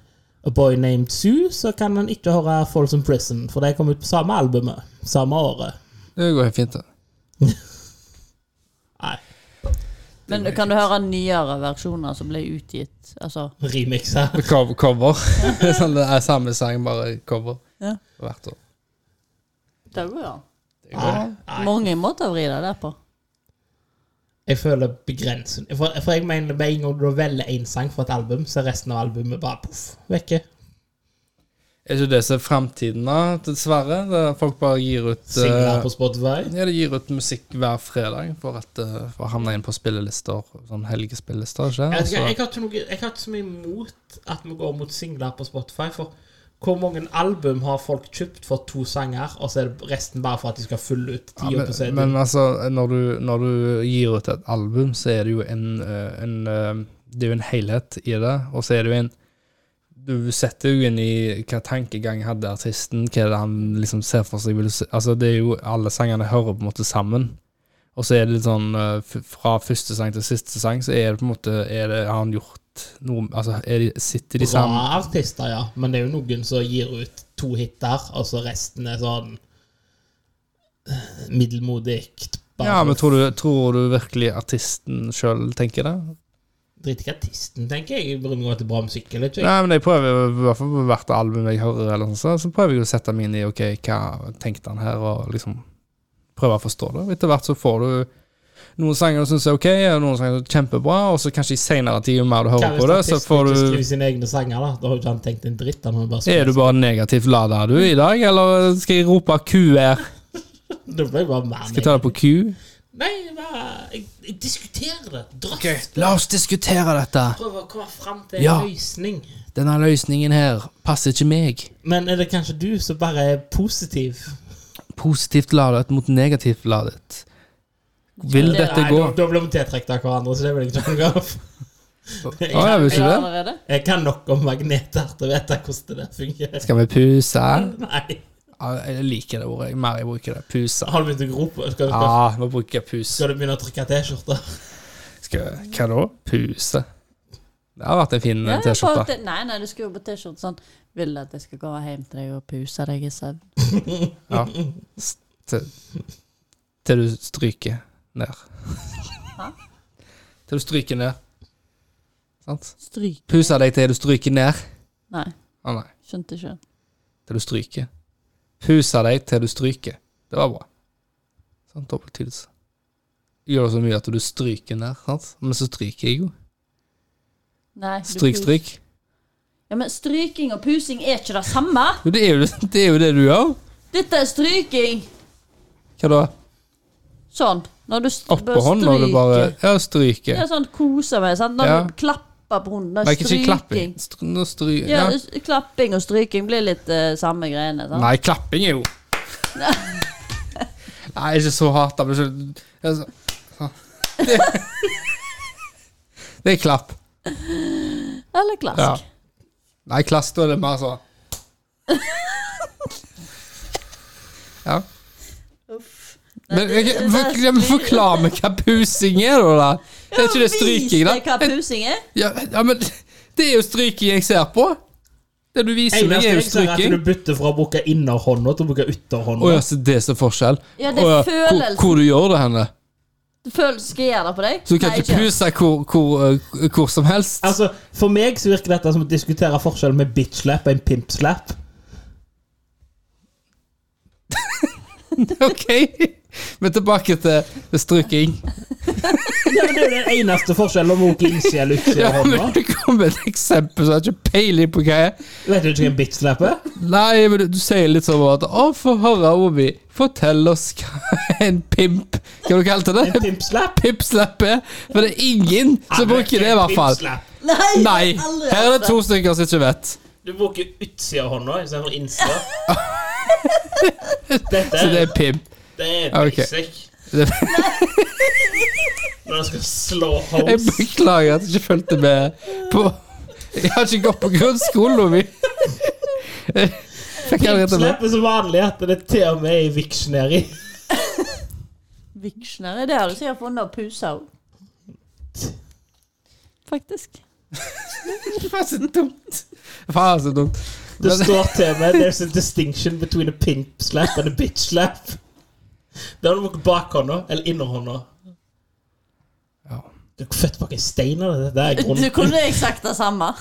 A Boy Named Sue, så kan han ikke høre Folsom Prison, for de kom ut på samme albumet, samme året. Det går helt fint, det. Nei, Men kan du høre nyere versjoner som ble utgitt? Altså, remiksa. Cover. cover. sånn, det er samme sang, bare cover Ja. hvert år. det går jo an. Nei, nei. Mange måter å vri det der på. Jeg føler begrensen For, for jeg mener med en gang du velger én sang for et album, så er resten av albumet bare poff, vekke. Er ikke det som er framtiden, da, dessverre? Der folk bare gir ut Singler eh, på Spotify. ja, de gir ut musikk hver fredag for, at, eh, for å havne inn på spillelister. Sånn helgespillelister, ikke Jeg, vet Og ikke, så- jeg, har ikke noe, jeg har ikke så mye imot at vi går mot singler på Spotify, for hvor mange album har folk kjøpt for to sanger, og så er det resten bare for at de skal fylle ut Ja, tida på men, CD? men altså, når du, når du gir ut et album, så er det jo en, eh, en eh, Det er jo en helhet i det, og så er det jo en Du setter jo inn i hva tankegang hadde artisten, hva er det han liksom ser for seg vil se, Altså, det er jo alle sangene hører på en måte sammen. Og så er det litt sånn eh, f- Fra første sang til siste sang, så er det på en måte er det, Har han gjort noe Altså, er de, sitter de Bra sammen artister, ja, men det er jo noen som gir ut to hiter, og så resten er sånn eh, middelmodig. Bare Ja, men for- tror du, tror du virkelig artisten sjøl tenker det? Drit i artisten, tenker jeg. Jeg bryr meg om at det er bra musikk eller ikke. Nei, men jeg prøver i hvert fall på hvert album jeg hører, eller sånn, så, så prøver jeg å sette meg inn i ok, hva tenkte han her, og liksom prøve å forstå det. Etter hvert så får du noen sanger du syns er ok, og noen sanger som er kjempebra, og så kanskje i seinere tid, jo mer du Hva hører hvis på det, så artisten får ikke du skriver sine egne sanger, da? Da har jo ikke han tenkt en dritt. Han har jo bare Er du skrevet- bare negativt lada du i dag, eller skal jeg rope QR? Da ble jeg bare mer Skal jeg ta det på Q? Nei, jeg bare jeg, jeg diskuterer det. Drøft. La oss diskutere dette. Prøver å komme fram til en Ja. løsning. Denne løsningen her passer ikke meg. Men er det kanskje du som bare er positiv? Positivt ladet mot negativt ladet. Vil Det- dette Nei, gå? da, da blir vi tiltrukket av hverandre, så det vil jeg ikke ha noe av. Å, jeg vil ikke Er det det. allerede? Jeg kan nok om magneter til å vite hvordan det der fungerer. Skal vi puse? Nei. Ja, jeg liker det ordet. Jeg mer jeg bruker det. Puse. Har du begynt å gro på? Skal du, skal, Ja, nå bruker jeg puse. skal du begynne å trykke T-skjorter? Skal, hva da? Puse. Det har vært en fin Ja, eh, jeg får T-skjorte. til- Nei, nei, du skulle jo på T-skjorte sånn Vil du at jeg skal komme hjem til deg og puse deg i søvn? Ja. S- Til, til du stryker ned. Til du stryker ned. Sant? Stryk. Puse deg til du stryker ned. Nei, Å nei. skjønte ikke. Til du stryker. Puse deg til du stryker. Det var bra. Sant? Dobbelttydelse. Gjør det så mye at du stryker ned, sant? Men så stryker jeg jo. Nei, du Stryk, pus- stryk. Ja, men Stryking og pusing er ikke det samme! Jo, det er jo det, er jo det du gjør. Dette er stryking! Hva da? Sånn. Når du st Oppå hånda og du bare Ja, stryke. Ja, sånn kose meg. Sant? Når Ja. du klapper på hunden. Nei, Det er ikke klapping. stryking. Str nå stry ja. Ja, s- klapping og stryking blir litt eh, samme greiene. Sant? Nei, klapping er jo Nei, ikke så hardt, da. men ikke- altså, Det, det er klapp. Eller klask. Ja. Nei, klass, da er det mer sånn Ja. Men det- ok, det- for- det- ja, men forklar meg hva pusing er, da. da. Det er ikke det stryking, da. Vis deg hva pusing er. Ja, ja, men det er jo stryking jeg ser på. Det du viser meg, Eneste er jo altså, jeg ser, er at stryking. du bytter fra å bruke innerhånda til å bruke Å ytterhånda. ja, så det er så forskjell? Ja, det er Å følelsen. Hvor, hvor du gjør det henne? Du føler skal jeg gjøre det på deg? Så du kan Nei, ikke puse hvor, hvor, eh, hvor som helst? Altså, For meg så virker dette som å diskutere forskjellen med bitch slap og en pimp slap. Ok! Men tilbake til, til stryking. Ja, men det er jo den eneste forskjellen om onkel Insi er Luxi og Ja, men Honda. det kom et eksempel som jeg har ikke peiling på hva er. Vet du ikke hvem bitslap er? Nei, men du, du sier litt sånn at Å, få høre, Obi. Fortell oss hva en pimp Hva du kalte det? En pimpslap? Pipslapp er. For det er ingen som bruker det, i hvert fall. Pimpslap. Nei! Nei. jeg har aldri Her er hørt det to stykker som ikke vet. Du bruker utsida av hånda istedenfor innsida. Dette Så det er, er pimp. det er ok. basic. Det- Når han skal slå Jeg hoes. beklager at jeg ikke fulgte med på Jeg har ikke gått på grunnskolen, Obi. Fikk jeg rett og slett Pimpslap er så vanlig at det er til og med i Victionary. Victionary, det har du sikkert funnet opp huset òg. Faktisk. Faen, så dumt. Faen, så dumt. Det Men- står til og med There's a distinction between a pimp slap and a bitch slap. Da har du brukt bakhånda eller innerhånda. Ja. Du er født bak en stein av det. Det er Du grunnen. kunne jeg sagt det samme.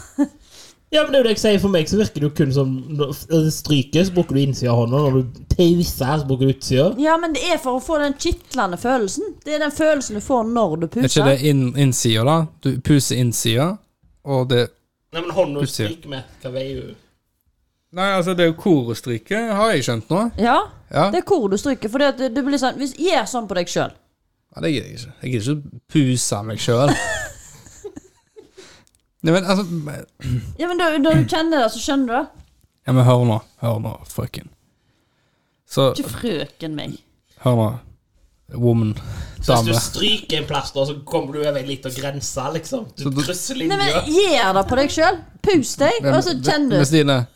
Ja, men det er jo det jeg sier. For meg så virker det jo kun som Når det stryker, så bruker du innsida av hånda. Når du tauser, så bruker du utsida. Ja, men det er for å få den kitlende følelsen. Det er den følelsen du får når du Er ikke det puser. inn, innsida, da? Du puser innsida, og det Nei, men hånda Utsida. stryker med. Hva veier hun? Nei, altså, det er jo korestrykket, har jeg skjønt nå. Ja, Ja, det er hvor du stryker. For det at du blir sånn hvis, Gjør sånn på deg sjøl. ja det gidder jeg ikke. Jeg gidder ikke å puse meg sjøl. Nei, men altså Ja, men da, når du kjenner det, så skjønner du det. Ja, men hør nå. Hør nå, frøken. Så Ikke frøken meg. Hør nå, woman. Så Hvis Dame. du stryker en plass, da, så kommer du over en liten grense, liksom. Du Så du- krysser Nei, linja. men Gjør det på deg sjøl. Pus deg, og så Men kjenner du. Stine,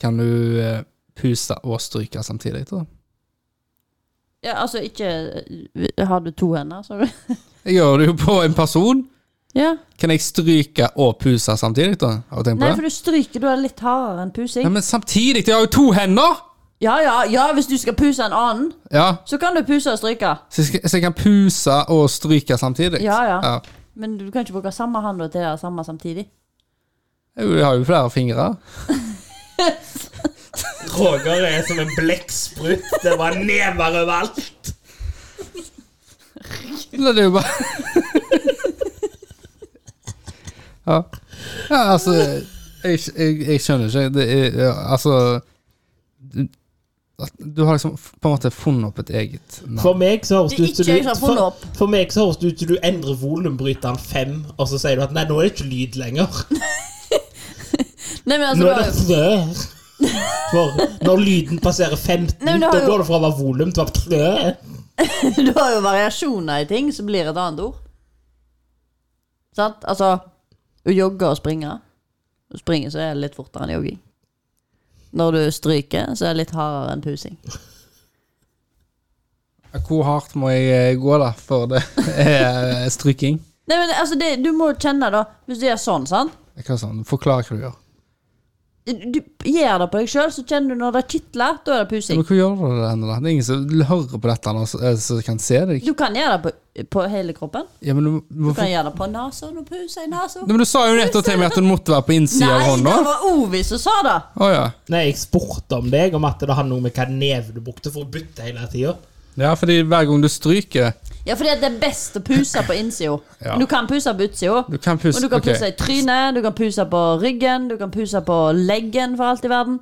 kan du eh, puse og stryke samtidig, tror jeg? Ja, altså, ikke eh, Har du to hender, sa du? Jeg gjør det jo på en person. Ja. Kan jeg stryke og puse samtidig, da? Har du tenkt på Nei, det? for du stryker. Du er litt hardere enn pusing. Nei, men samtidig, jeg har jo to hender! Ja, ja, ja, hvis du skal puse en annen, Ja, så kan du puse og stryke. så jeg, skal, så jeg kan puse og stryke samtidig. Ja, ja. ja. Men du kan ikke bruke samme hånd til det samme samtidig. Jo, Jeg har jo flere fingre. Roger er som en blekksprut. Det var never overalt. Eller det er jo bare ja. ja, altså jeg, jeg, jeg skjønner ikke. Det er ja, Altså du, at du har liksom på en måte funnet opp et eget For navn. meg så høres Det er det ut som ikke jeg som du har funnet for, opp. for meg så høres det ut som du endrer volumbryteren fem, og så sier du at nei, nå er det ikke lyd lenger. Nei, men altså, Nå er da- det frør. For når lyden passerer 15, Nei, men du da har jo- går det fra å være volum til å være frør. Du har jo variasjoner i ting som blir et annet ord. Sant? Altså Å jogge og springe. Å springe så er det litt fortere enn jogging. Når du stryker, så er det litt hardere enn pusing. Hvor hardt må jeg eh, gå, da, for det er eh, stryking? Nei, men altså, det, Du må kjenne, da Hvis du gjør sånn, sant Hva sånn? Forklar hva du gjør. Du gjør det på deg sjøl, så kjenner du når det kitler. Da Ja, er det pusing. Men hvor gjør du det ennå, da? Det er ingen som hører på dette nå, så- eh, som kan se deg. Du kan gjøre det på, på hele kroppen. Ja, men du, Du hvorfor? kan gjøre det på nesa. Nå puser jeg nesa. Nei, men du sa jo nettopp til meg at du måtte være på Nei, innsida av hånda. det var Ovi som sa det! Å ja. Nei, jeg spurte om deg, om at det handler om hva neve du brukte for å bytte hele tida. ja, fordi hver gang du stryker Ja, for det er best å puse på innsida. Ja. Men Du kan puse på utsida. Du kan puse- Og du kan ok. puse i trynet, du kan puse på ryggen, du kan puse på leggen, for alt i verden.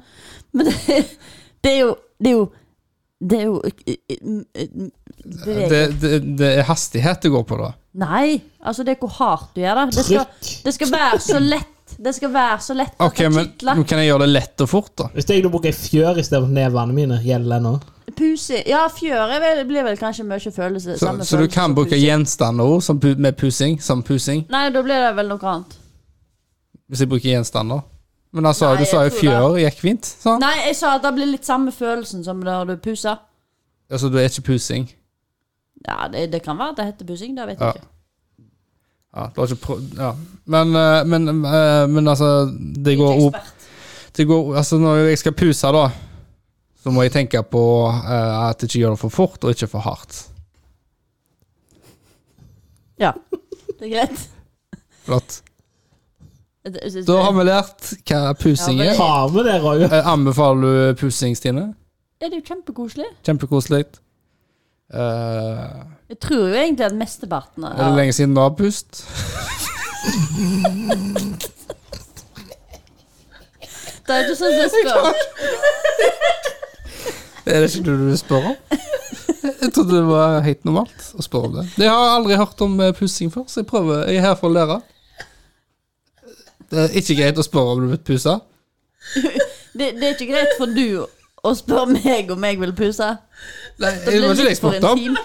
Men det, det er jo Det er jo Det er jo bevege- det, det, det er hastighet det går på, da. Nei, altså det er hvor hardt du gjør det. Det skal, Trykk. det skal være så lett. Det skal være så lett at Ok, det men nå kitler. kan jeg gjøre det lett og fort, da. Hvis jeg da bruker ei fjør istedenfor nevene mine, gjelder det nå? Puse Ja, fjøre vel- blir vel kanskje mye følelse. Så, samme så du følelse kan som bruke pusing. gjenstander som pu med pusing, som pusing, Nei, da blir det vel noe annet. hvis jeg bruker gjenstander. Men altså, du Nei, sa jeg jo tror fjør gikk fint, sant? Nei, jeg sa at det blir litt samme følelsen som når du puser. Altså, du er ikke pusing. Ja, det, det kan være at det heter bussing, det vet jeg Ja. ikke. Ja, du har ikke prøvd Ja. Men, eh, men, eh, men altså, det går opp det går, altså Når jeg skal puse, da, så må jeg tenke på eh, at jeg ikke gjør det for fort, og ikke for hardt. Ja, det er greit. Flott. Det- det- det- Da har vi lært hva pusing Ja, men- er. Har vi det, Roger? Eh, Anbefaler du pusing, Stine? Ja, det er jo kjempekoselig. Kjempekoselig. Eh, Jeg tror jo egentlig at mesteparten av er det lenge siden Nav-pust? Det er ikke sånn som jeg spør. Er det ikke det du spør om? Jeg trodde det var helt normalt å spørre om det. Jeg har aldri hørt om eh, pussing før, så jeg prøver. Jeg er her for å lære. Det er ikke greit å spørre om du vil pusse. Det, det er ikke greit for du å spørre meg om jeg vil puse. Nei, Da det blir var ikke det jeg litt for spurte om. intimt.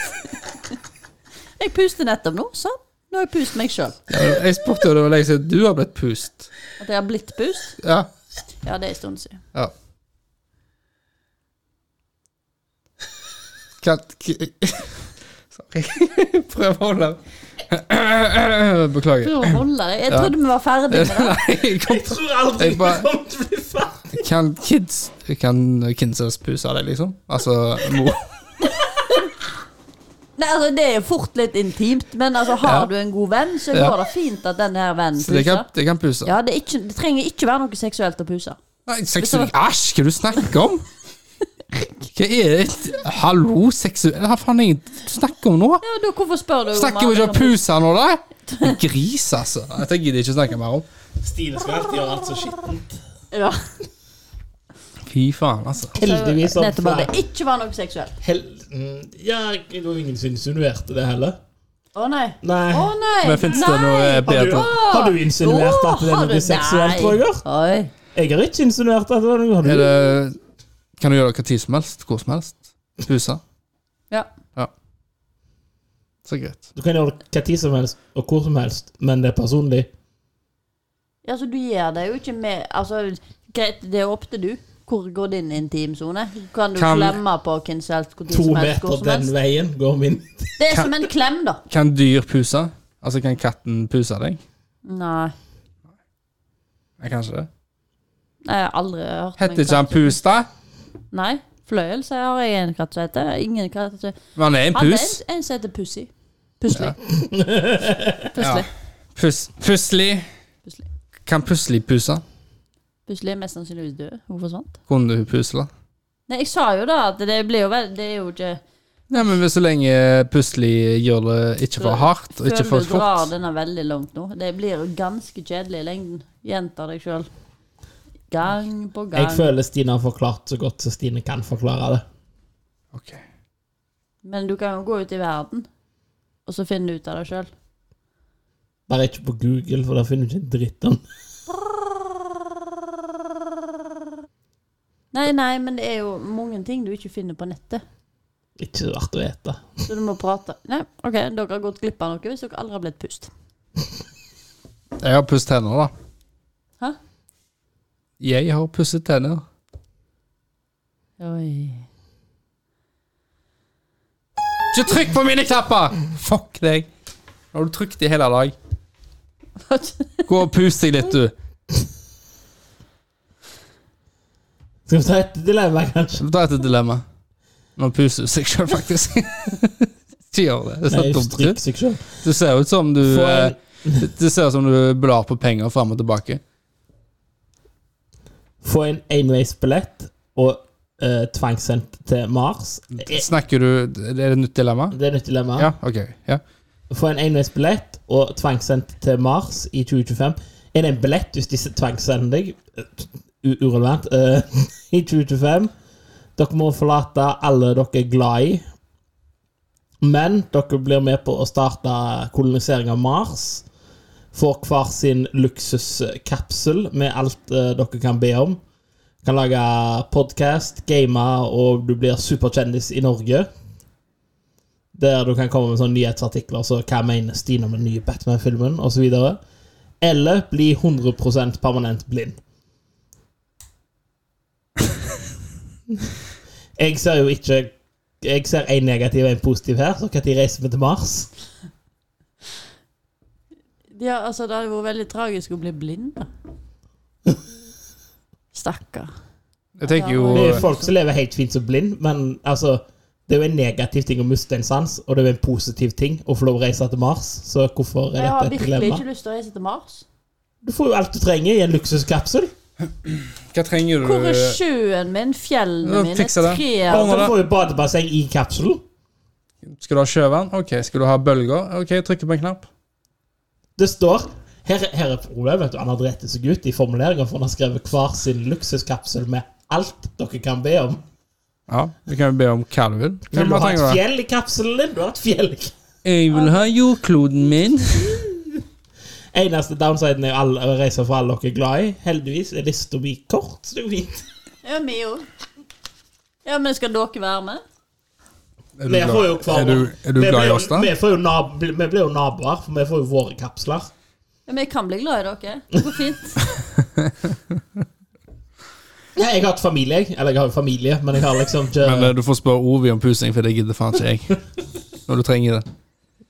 Jeg puste nettopp nå, sånn. Nå har jeg pust meg sjøl. Ja, Jeg spurte jo det var lenge siden du har blitt pust. At jeg har blitt pust? Ja. Ja, det er en stund siden. ja. Kan, k Sorry. Prøv å holde Beklager. Prøv å holde deg. Jeg trodde vi var ferdig med det. Nei, jeg kom Jeg tror aldri Jeg bare- vi kommer til å bli ferdig. Kan kids Kan kids puse deg, liksom? Altså mor Nei, altså, det er jo fort litt intimt, men altså, har Ja. du en god venn, så Ja. går det fint at den her vennen Så det kan, puser. det kan puse. Ja, det, er ikke, det trenger ikke være noe seksuelt å puse. Nei, seksuell Æsj, hva er det du snakker om? Hva er det Hallo, seksuell Hva faen er det du snakker om nå? Ja, da hvorfor spør du om Snakker vi alle ikke om kan puse? puse nå, da? En Gris, altså. Dette gidder jeg ikke snakke mer om. Stine skal alltid gjøre alt så skittent. liksom- Ja. Fy faen, altså. Heldigvis har Nettopp at flere- det ikke var noe seksuelt. Hel mm, ja, det var ingen som insinuerte det heller. Å nei. Nei. Å nei. Men fins det Nei. noe eh, Har du, bedre har du insinuert at det Å, er har du- noe seksuelt, nei. Roger? Oi. Jeg har ikke insinuert at det var noe. Har du? Er det Kan du gjøre det hva tid som helst? Hvor som helst? Puse? Ja. Så greit. Du kan gjøre det hva tid som helst og hvor som helst, men det er personlig. Ja, så du gjør det jo ikke med Altså, greit, det er opp til du. Hvor går din intimsone? Kan du Kan- klemme på hvem som helst? hvor tid To som helst, hvor meter som den helst? veien går min. Det er som en klem, da. Kan dyr puse? Altså, kan katten puse deg? Nei. Nei, Kanskje det. Jeg har aldri hørt om en Heter ikke han katt som- Pus, da? Nei. Fløyel så har jeg en katt som heter. Ingen katt som Men han er en Han er pus. en, en som heter Pussy. Pusli. Ja. Pusli. Pus, pusli. Pusli. Kan Pusli puse? Pusli er mest sannsynligvis død. Hun forsvant. Kunne hun pusle? Nei, jeg sa jo da at det blir jo vel Det er jo ikke Nei, men så lenge Pusli gjør det ikke for hardt og ikke Føler for du drar fort denne veldig langt nå. Det blir jo ganske kjedelig i lengden. Gjenta deg sjøl. Gang på gang. Jeg føler Stine har forklart så godt som Stine kan forklare det. Ok. Men du kan jo gå ut i verden, og så finne ut av det sjøl. Bare ikke på Google, for der finner du ikke en dritt om det. Nei, nei, men det er jo mange ting du ikke finner på nettet. Ikke så verdt å vite. Så du må prate. Nei, ok, dere har gått glipp av noe hvis dere aldri har blitt pust. Jeg har pusset tenner, da. Hæ? Jeg har pusset tenner. Oi. Ikke trykk på mine knapper! Fuck deg. Nå har du trykt i hele dag. Gå og pus deg litt, du. Skal vi ta et dilemma, kanskje? Så vi tar et dilemma. Nå puser du seg sjøl, faktisk. Ikke gjør det. Det Nei, ser dumt strikk ut. seg sjøl. Det ser ut som du Få eh, en- Det ser ut som du blar på penger fram og tilbake. Få en enveisbillett og eh, tvangssendt til Mars. Eh, Snakker du Er det et nytt dilemma? Det er nytt dilemma. Ja, ok. Ja. Få en enveisbillett og tvangssendt til Mars i 2025. Er det en billett hvis de tvangssender deg? Eh, u- Urelevant. eh, I 2025. Dere må forlate alle dere er glad i. Men dere blir med på å starte kolonisering av Mars. Får hver sin luksuskapsel med alt eh, dere kan be om. Kan lage podkast, game, og du blir superkjendis i Norge. Der du kan komme med sånne nyhetsartikler så hva mener Stine om den nye Batman-filmen osv. Eller bli 100 permanent blind. Jeg ser jo ikke Jeg ser én negativ og én positiv her, så når reiser vi til Mars? Ja, altså, det hadde vært veldig tragisk å bli blind, da. Stakkar. Jeg tenker jo eh, Det er jo folk som lever helt fint som blind, men altså det er jo en negativ ting å miste en sans, og det er jo en positiv ting å få lov å reise til Mars. Så hvorfor er Jeg har dette et virkelig dilemma? ikke lyst til å reise til Mars. Du får jo alt du trenger i en luksuskapsel. Hva trenger du? Hvor er sjøen min, Ja, fjellene mine, fikser det. Ja, trærne for du får jo badebasseng i kapselen. Skal du ha sjøvann? Ok. Skal du ha bølger? Ok, trykk på en knapp. Det står Her, her er problemet. vet du, Han har drept seg ut i formuleringa, for han har skrevet hver sin luksuskapsel med alt dere kan be om. Ja, du kan jo be om hva du vil. Vil du Hva ha et trenger du? fjell i kapselen din? Du har et fjell. i- Jeg vil ha jordkloden min. Eneste downsiden er jo alle, å reise for alle dere er glad i. Heldigvis er lista mi kort, så det er jo fint. Ja, vi jo. Ja, men skal dere være med? Er Vi får jo hver er du, er du vi glad i blir jo- oss, da? Vi, får jo nab- vi blir jo naboer, for vi får jo våre kapsler. Ja, men jeg kan bli glad i dere. Det går fint. Ja, jeg har hatt familie, jeg. Eller jeg har jo familie, men jeg har liksom ikke Men eh, du får spørre Ovi om pusing, for det gidder faen ikke jeg. Når du trenger det.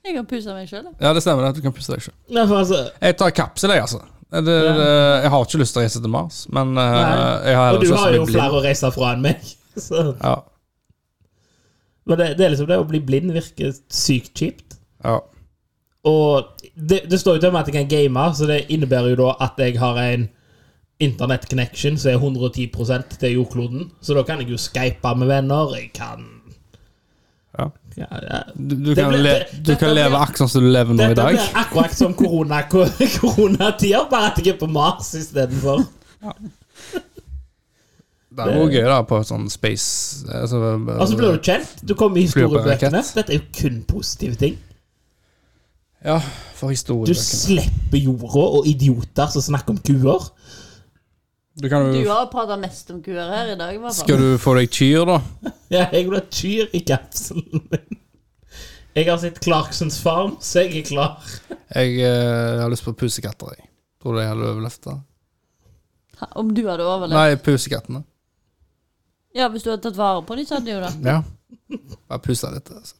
Jeg kan puse meg sjøl. Ja, det stemmer. det, Du kan pusse deg selv. Nei, for altså, Jeg tar kapsel, jeg, altså. Det, det, jeg har ikke lyst til å reise til Mars, men eh, Nei. jeg har Og heller du ikke lyst har til jo å bli blind. flere å reise fra enn meg. Så. Ja, Men det, det er liksom det å bli blind virker sykt kjipt. ja. Og det, det står jo til meg at jeg kan game, så det innebærer jo da at jeg har en internett-connection som er 110 til jordkloden. Så da kan jeg jo skype med venner. Jeg kan Ja. Ja, ja. Du, du, Det kan, blir- le, det- du kan dette leve blir- akkurat som du lever nå i Dette dag. blir akkurat som korona- koronatider, bare at jeg er på Mars istedenfor. Det er jo gøy, da, på sånn space altså, Og så blir du kjent. Du kommer i Flyr på historiebøkene. rakett. Dette er jo kun positive ting. Ja, for Du historiebøkene. slipper jorda og idioter som snakker om kuer. Du kan Du jo har prata mest om kuer her i dag, i hvert fall. Skal du få deg kyr, da? Ja, jeg vil ha tyr i kapselen min. Jeg har sett Clarksons Farm, så jeg er klar. Jeg eh, har lyst på pusekatter, jeg. Tror du jeg hadde overlevd det? Ha, Om du hadde overlevd? Nei, pusekattene. Ja, hvis du hadde tatt vare på dem, så hadde du jo det. Ja. Bare pusa litt. Altså.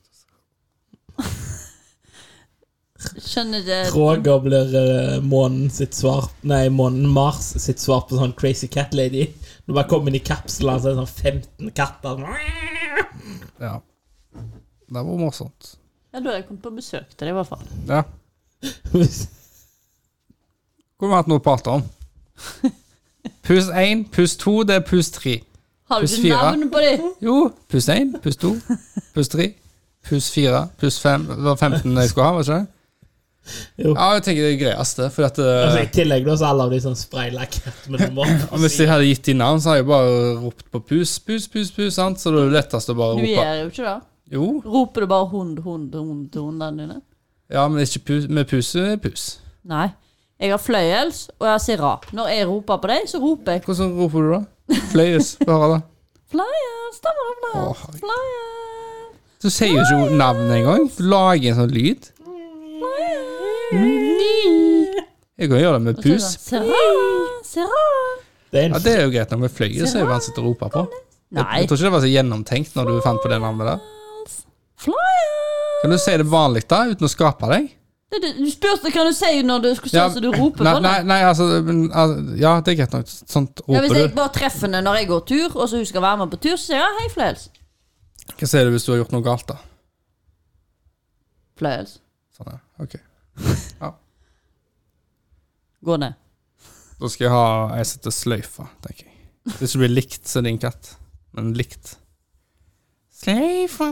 Skjønner ikke Roger blir eh, månen sitt svar Nei, månen Mars sitt svar på sånn Crazy Cat Lady. Når man kommer inn i kapselen, så er det sånn 15 katter. Ja. Det var morsomt. Ja, da hadde jeg kommet på besøk til deg, i hvert fall. Ja. Eh. Hvis- Kunne vi hatt noe å prate om. Pus 1, pus 2, det er pus 3. Har du Pluss ikke fire. navn på dem? Jo, pus 1, pus 2, pus 3, pus 4, pus 5 Det var 15 jeg skulle ha, var det ikke det? Jo. Ja, jeg tenker det er greiest, det. For at, eh, Altså, I tillegg da, så er alle av de sånn spraylakkert med Og Hvis nummer. jeg hadde gitt de navn, så hadde jeg bare ropt på pus, pus, pus, pus, sant? så det er jo lettest å bare Du rope. gjør jo ikke det. Jo, Roper du bare hund, hund, hund til hundene dine? ja, men ikke pus, med pus er pus. Nei. Jeg har fløyels, og jeg har sirra. Når jeg roper på deg, så roper jeg Hvordan roper du da? Fløyes, få høre da. Flyers, da var det Å, flyers, herregud. flyers, Du sier jo ikke navnet engang. Du lager en sånn lyd. flyers. Jeg kan gjøre det med pus. Sirra, sirra. Det er Ja, en Det er jo greit, når vi fløyer, så er det vanskelig å rope på. Jeg, Nei. jeg tror ikke det var så gjennomtenkt når du fant på det navnet der. Flyers. Kan du si det vanlig da, uten å skape deg? Det, det, du spurte hva du sier når du skulle stå så du roper nei, på nei, det. nei, altså, men, altså Ja, det er greit nok. Sånt Ja, hvis roper jeg du. bare treffer henne når jeg går tur, og så hun skal være med på tur, så sier jeg ja, hei, fløyels. Hva sier du hvis du har gjort noe galt, da? Fløyels. Sånn, ja. Ok. Gå ned. Da skal jeg ha ei som heter Sløyfa, tenker jeg. Hvis det blir likt, så er det en katt. Men likt. Sløyfa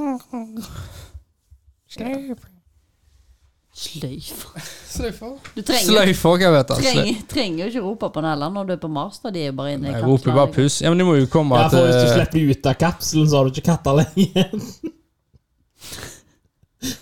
Sløyfa Sløyfer. Sløyfa, Du trenger, Sløyfa hva vet jeg. Sløy- trenger, trenger jo ikke rope på den heller når du er på Mars. Da de er jo bare inne i Jeg kapsler, roper bare liksom. puss. Ja, men de må jo komme eh, Ja, for hvis du til slipper ut av kapselen, så har du ikke katter lenger.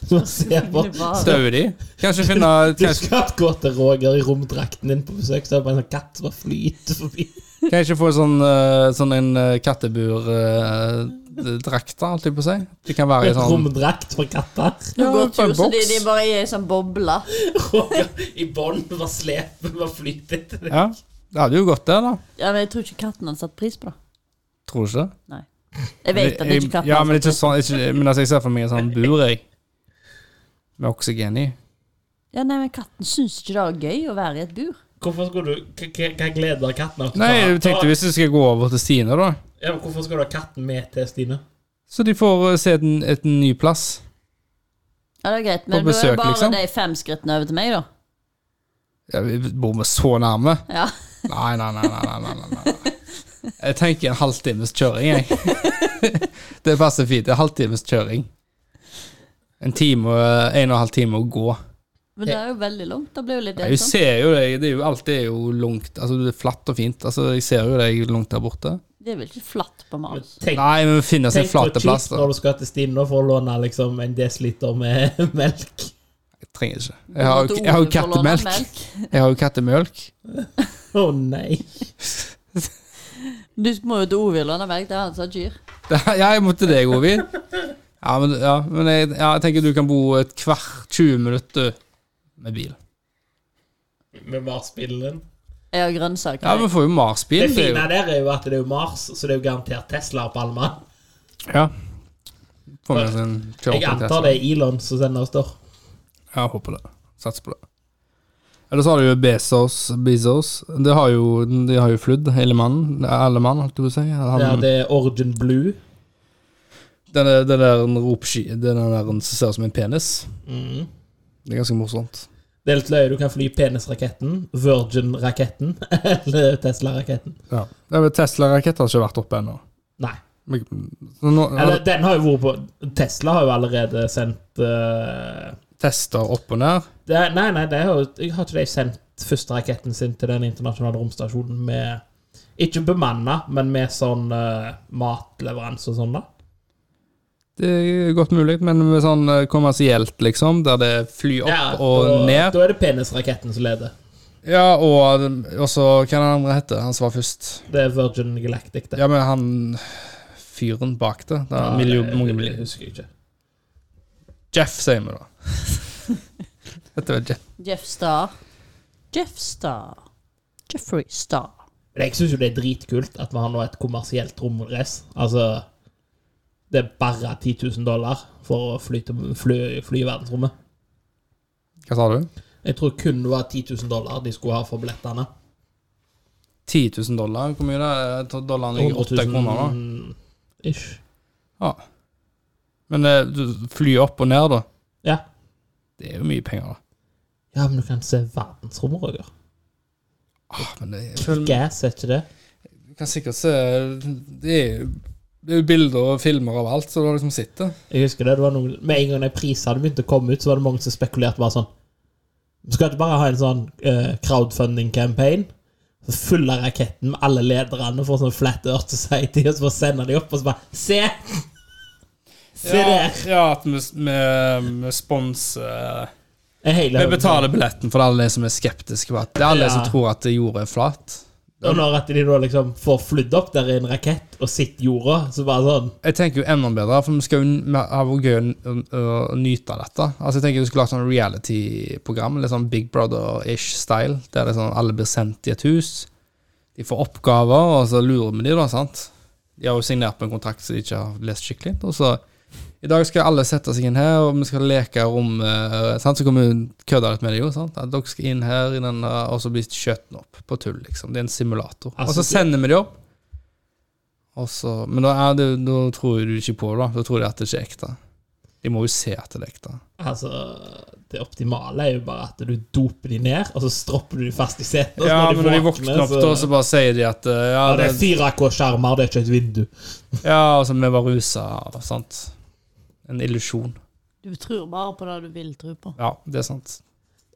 Du må se på Det var- Stauer de? Kanskje finne Du Kanskje, skal gå til Roger i romdrakten din på besøk, så er det bare en sånn katt som bare flyter forbi. kanskje få sånn, eh, sånn en kattebur-drakt, holdt jeg på å si. De kan være i En sånn romdrakt for katter. Du Ja, går på en tur, så de, boks. de bare er i en sånn boble. Roger i bånd var slepet, var flytet til deg. Ja, det hadde jo gått, det, da. Ja, men jeg tror ikke katten hadde satt pris på det. Tror du ikke det? Jeg vet at ikke katten Ja, hadde men satt ikke sånn ikke, Men altså, jeg ser for meg en sånn bur, jeg. Med oksygen i. pris- Ja, nei, men katten syns ikke det er gøy å være i et bur. Hvorfor skal du k- k- Hva gleder katten av? Nei, jeg tenkte hvis du skal gå over til Stine, da. ja, men Hvorfor skal du ha katten med til Stine? Så de får eh, se den, et ny plass. Ja, det er greit, men På da er besøk, det bare liksom. de fem skrittene over til meg, da. Ja, vi bor vi så nærme? Ja. Nei, nei, nei. nei, nei, nei, nei, nei. Jeg tenker en halvtimes kjøring, jeg. Det passer fint. En halvtimes kjøring. En time, og- en og en halv time å gå. Men det er jo veldig langt. Det blir jo litt Ja, jeg delsomt. ser jo det. det er jo, alt er jo langt. Altså, det er flatt og fint. Altså, jeg ser jo deg langt der borte. Det er vel ikke flatt på Mars? Tenk, Nei, men vi finner oss en tenk hvor flate plass. kjipt Da. når du skal til Stine for å låne liksom en desiliter med melk. Jeg trenger ikke. Jeg har, jo- jeg har jo kattemelk. Jeg har jo kattemelk. Å nei. Du må jo til Ove og låne melk. Det er han som har kyr. Ja, jeg må til deg, Ovid. Ja, men, ja, men jeg, ja, jeg tenker du kan bo et hvert 20 minutter med bil. Med Mars-bilen. Jeg har grønnsaker. Ja, vi får jo Det Mars-bil. Det er fine jo, der er jo at det er jo Mars, så det er jo garantert Tesla på Alma. ja. Får vi oss en Jeg kjøretur til antar det er Elon som sender oss der. Ja, Jeg håper det. Satser på det. Eller så har du jo Bezos. Bezos. Det har jo, de har jo flydd, hele mannen. Alle mann, holdt jeg på å si. Han, Ja, det er Origin Blue. Den, der- den der en ropsky Den der en som ser ut som en penis. Mm. Det er ganske morsomt. Det er litt løye. Du kan fly penisraketten, Virgin-raketten eller Tesla-raketten. Ja. Ja, men Tesla-raketter har ikke vært oppe ennå. Nei. Men- så Nå, Eller, eller den har jo vært på Tesla har jo allerede sendt eh, tester opp og ned. det, Nei, nei, det har, jo- jeg har ikke de sendt første raketten sin til den internasjonale romstasjonen med Ikke bemanna, men med sånn eh, matleveranse og sånn, da. Det er godt mulig, men med sånn eh, kommersielt, liksom, der det flyr opp Ja, og da- ned. Da er det penisraketten som leder. Ja, og, og så Hva er det andre heter? Han som var først. Det er Virgin Galactic, det. Ja, men han fyren bak det. det er million, mange det millioner. husker jeg ikke. Jeff, sier vi da. Dette var Jeff. Jeff Star. Jeff Star. Jeffrey Star. Men jeg syns jo det er dritkult at vi har nå et kommersielt romrace. Altså Det er bare 10 000 dollar for å fly, til, fly, fly i verdensrommet. Hva sa du? Jeg tror kun det var 10 000 dollar de skulle ha for billettene. 10 000 dollar? Hvor mye det er? Jeg tror Dollaren ligger 8 kroner, da. ish. Ja. Men eh, du fly opp og ned, da. Ja. Det er jo mye penger, da. ja, men du kan se verdensrommet, Roger. Ah, men det, jeg føler Gas, er ikke det? Du kan sikkert se Det er jo- det er jo bilder og filmer av alt, så du har liksom sett det. Jeg husker det, det var noen, Med en gang de prisene begynte å komme ut, så var det mange som spekulerte bare sånn Du skal ikke bare ha en sånn eh, crowdfunding-campaign? Så Full av raketten med alle lederne for sånn Flat Earth Society, og så bare sender de opp, og så bare Se! Se ja, der! ja, at vi, vi, vi sponser En hel Vi haug. betaler billetten for alle de som er skeptiske på at Det er alle Ja. som tror at jorda er flat. Og når at de da liksom får flydd opp der i en rakett og sitter jorda, så bare sånn Jeg tenker jo enda bedre, for vi skal jo vi har vært gøy å, å, å nyte av dette. Altså jeg tenker Du skulle lagt sånn reality-program, litt sånn Big Brother-ish style, der det er sånn alle blir sendt i et hus. De får oppgaver, og så lurer vi dem, da. sant? De har jo signert på en kontrakt som de ikke har lest skikkelig. Og så I dag skal alle sette seg inn her, og vi skal leke rom eh, sant? Så kommer hun kødde litt med det, jo. sant? At dere skal inn her, i denne, og så blir skjøtten opp på tull, liksom. Det er en simulator. Altså, og så det- sender vi dem opp. Og så, men da, er det, da tror du ikke på det, da. Da tror de at det ikke er ekte. De må jo se at det er ekte. Altså, det optimale er jo bare at du doper de ned, og så stropper du de fast i setet. og så Ja, men når de våkner opp, da, så bare sier de at eh, ja, ja, Det det, er 4K-skjermer, det er ikke et vindu. ja altså, vi var rusa, sant. En illusjon. Du tror bare på det du vil tro på. Ja, det er sant.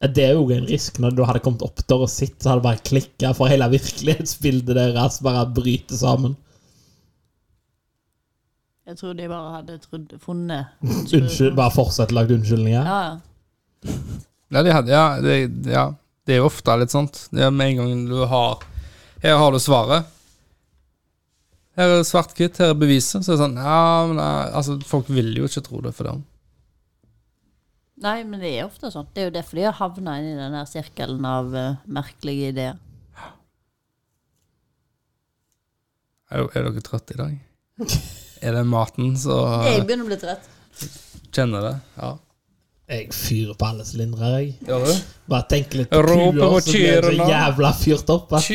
Ja, Det er jo en risk. Når du hadde kommet opp der og sett, så hadde det bare klikka for hele virkelighetsbildet deres. Bare bryter sammen. Jeg tror de bare hadde trodd, funnet Unnskyld, bare fortsett lagd unnskyldninger. Ja, ja. Ja, de hadde, ja, det, ja, det er jo ofte litt sånt. Det er med en gang du har Her har du svaret. Her er svart-hvitt, her er beviset. Så er det sånn Ja, men eh, altså, folk vil jo ikke tro det for dem. Nei, men det er ofte sånn. Det er jo derfor de har havna inn i den der sirkelen av eh, merkelige ideer. Er, er dere trøtte i dag? Er det maten som Jeg begynner å bli trett. kjenner det? Ja. Jeg fyrer på alle sylindere, jeg. Gjør du? Bare tenker litt Roper kuer, mot så blir jeg så kyrne. jævla fyrt opp. ass.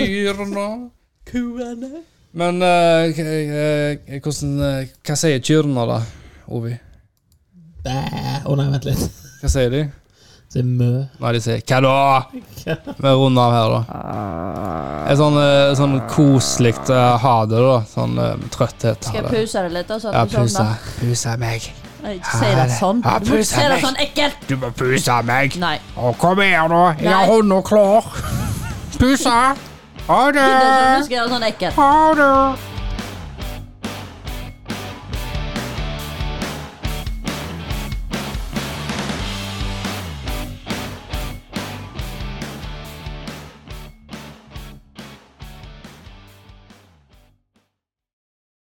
Kyrne. Men eh, k- eh, hvordan eh, Hva sier kyrne, da, Ovi? Bæ. Å nei, vent litt. Hva sier de? Det er mø. Ah. Nei, de sier 'hva da?' Vi runder av her, da. Et sånn, eh, sånn koselig eh, ha det, da. Sånn eh, trøtthet. ha Skal jeg det. puse det litt? da, så Ja, at du puse. sovner? Puse meg. Nei, Ikke si det sånn. Ja, Du må ikke puse si det meg. sånn ekkelt! Du må puse meg. Nei. Å, kom her, da. Jeg har Nei. hånda klar. Puse. Ha Det er det. sånn du skal gjøre sånn ekkelt. Ha det.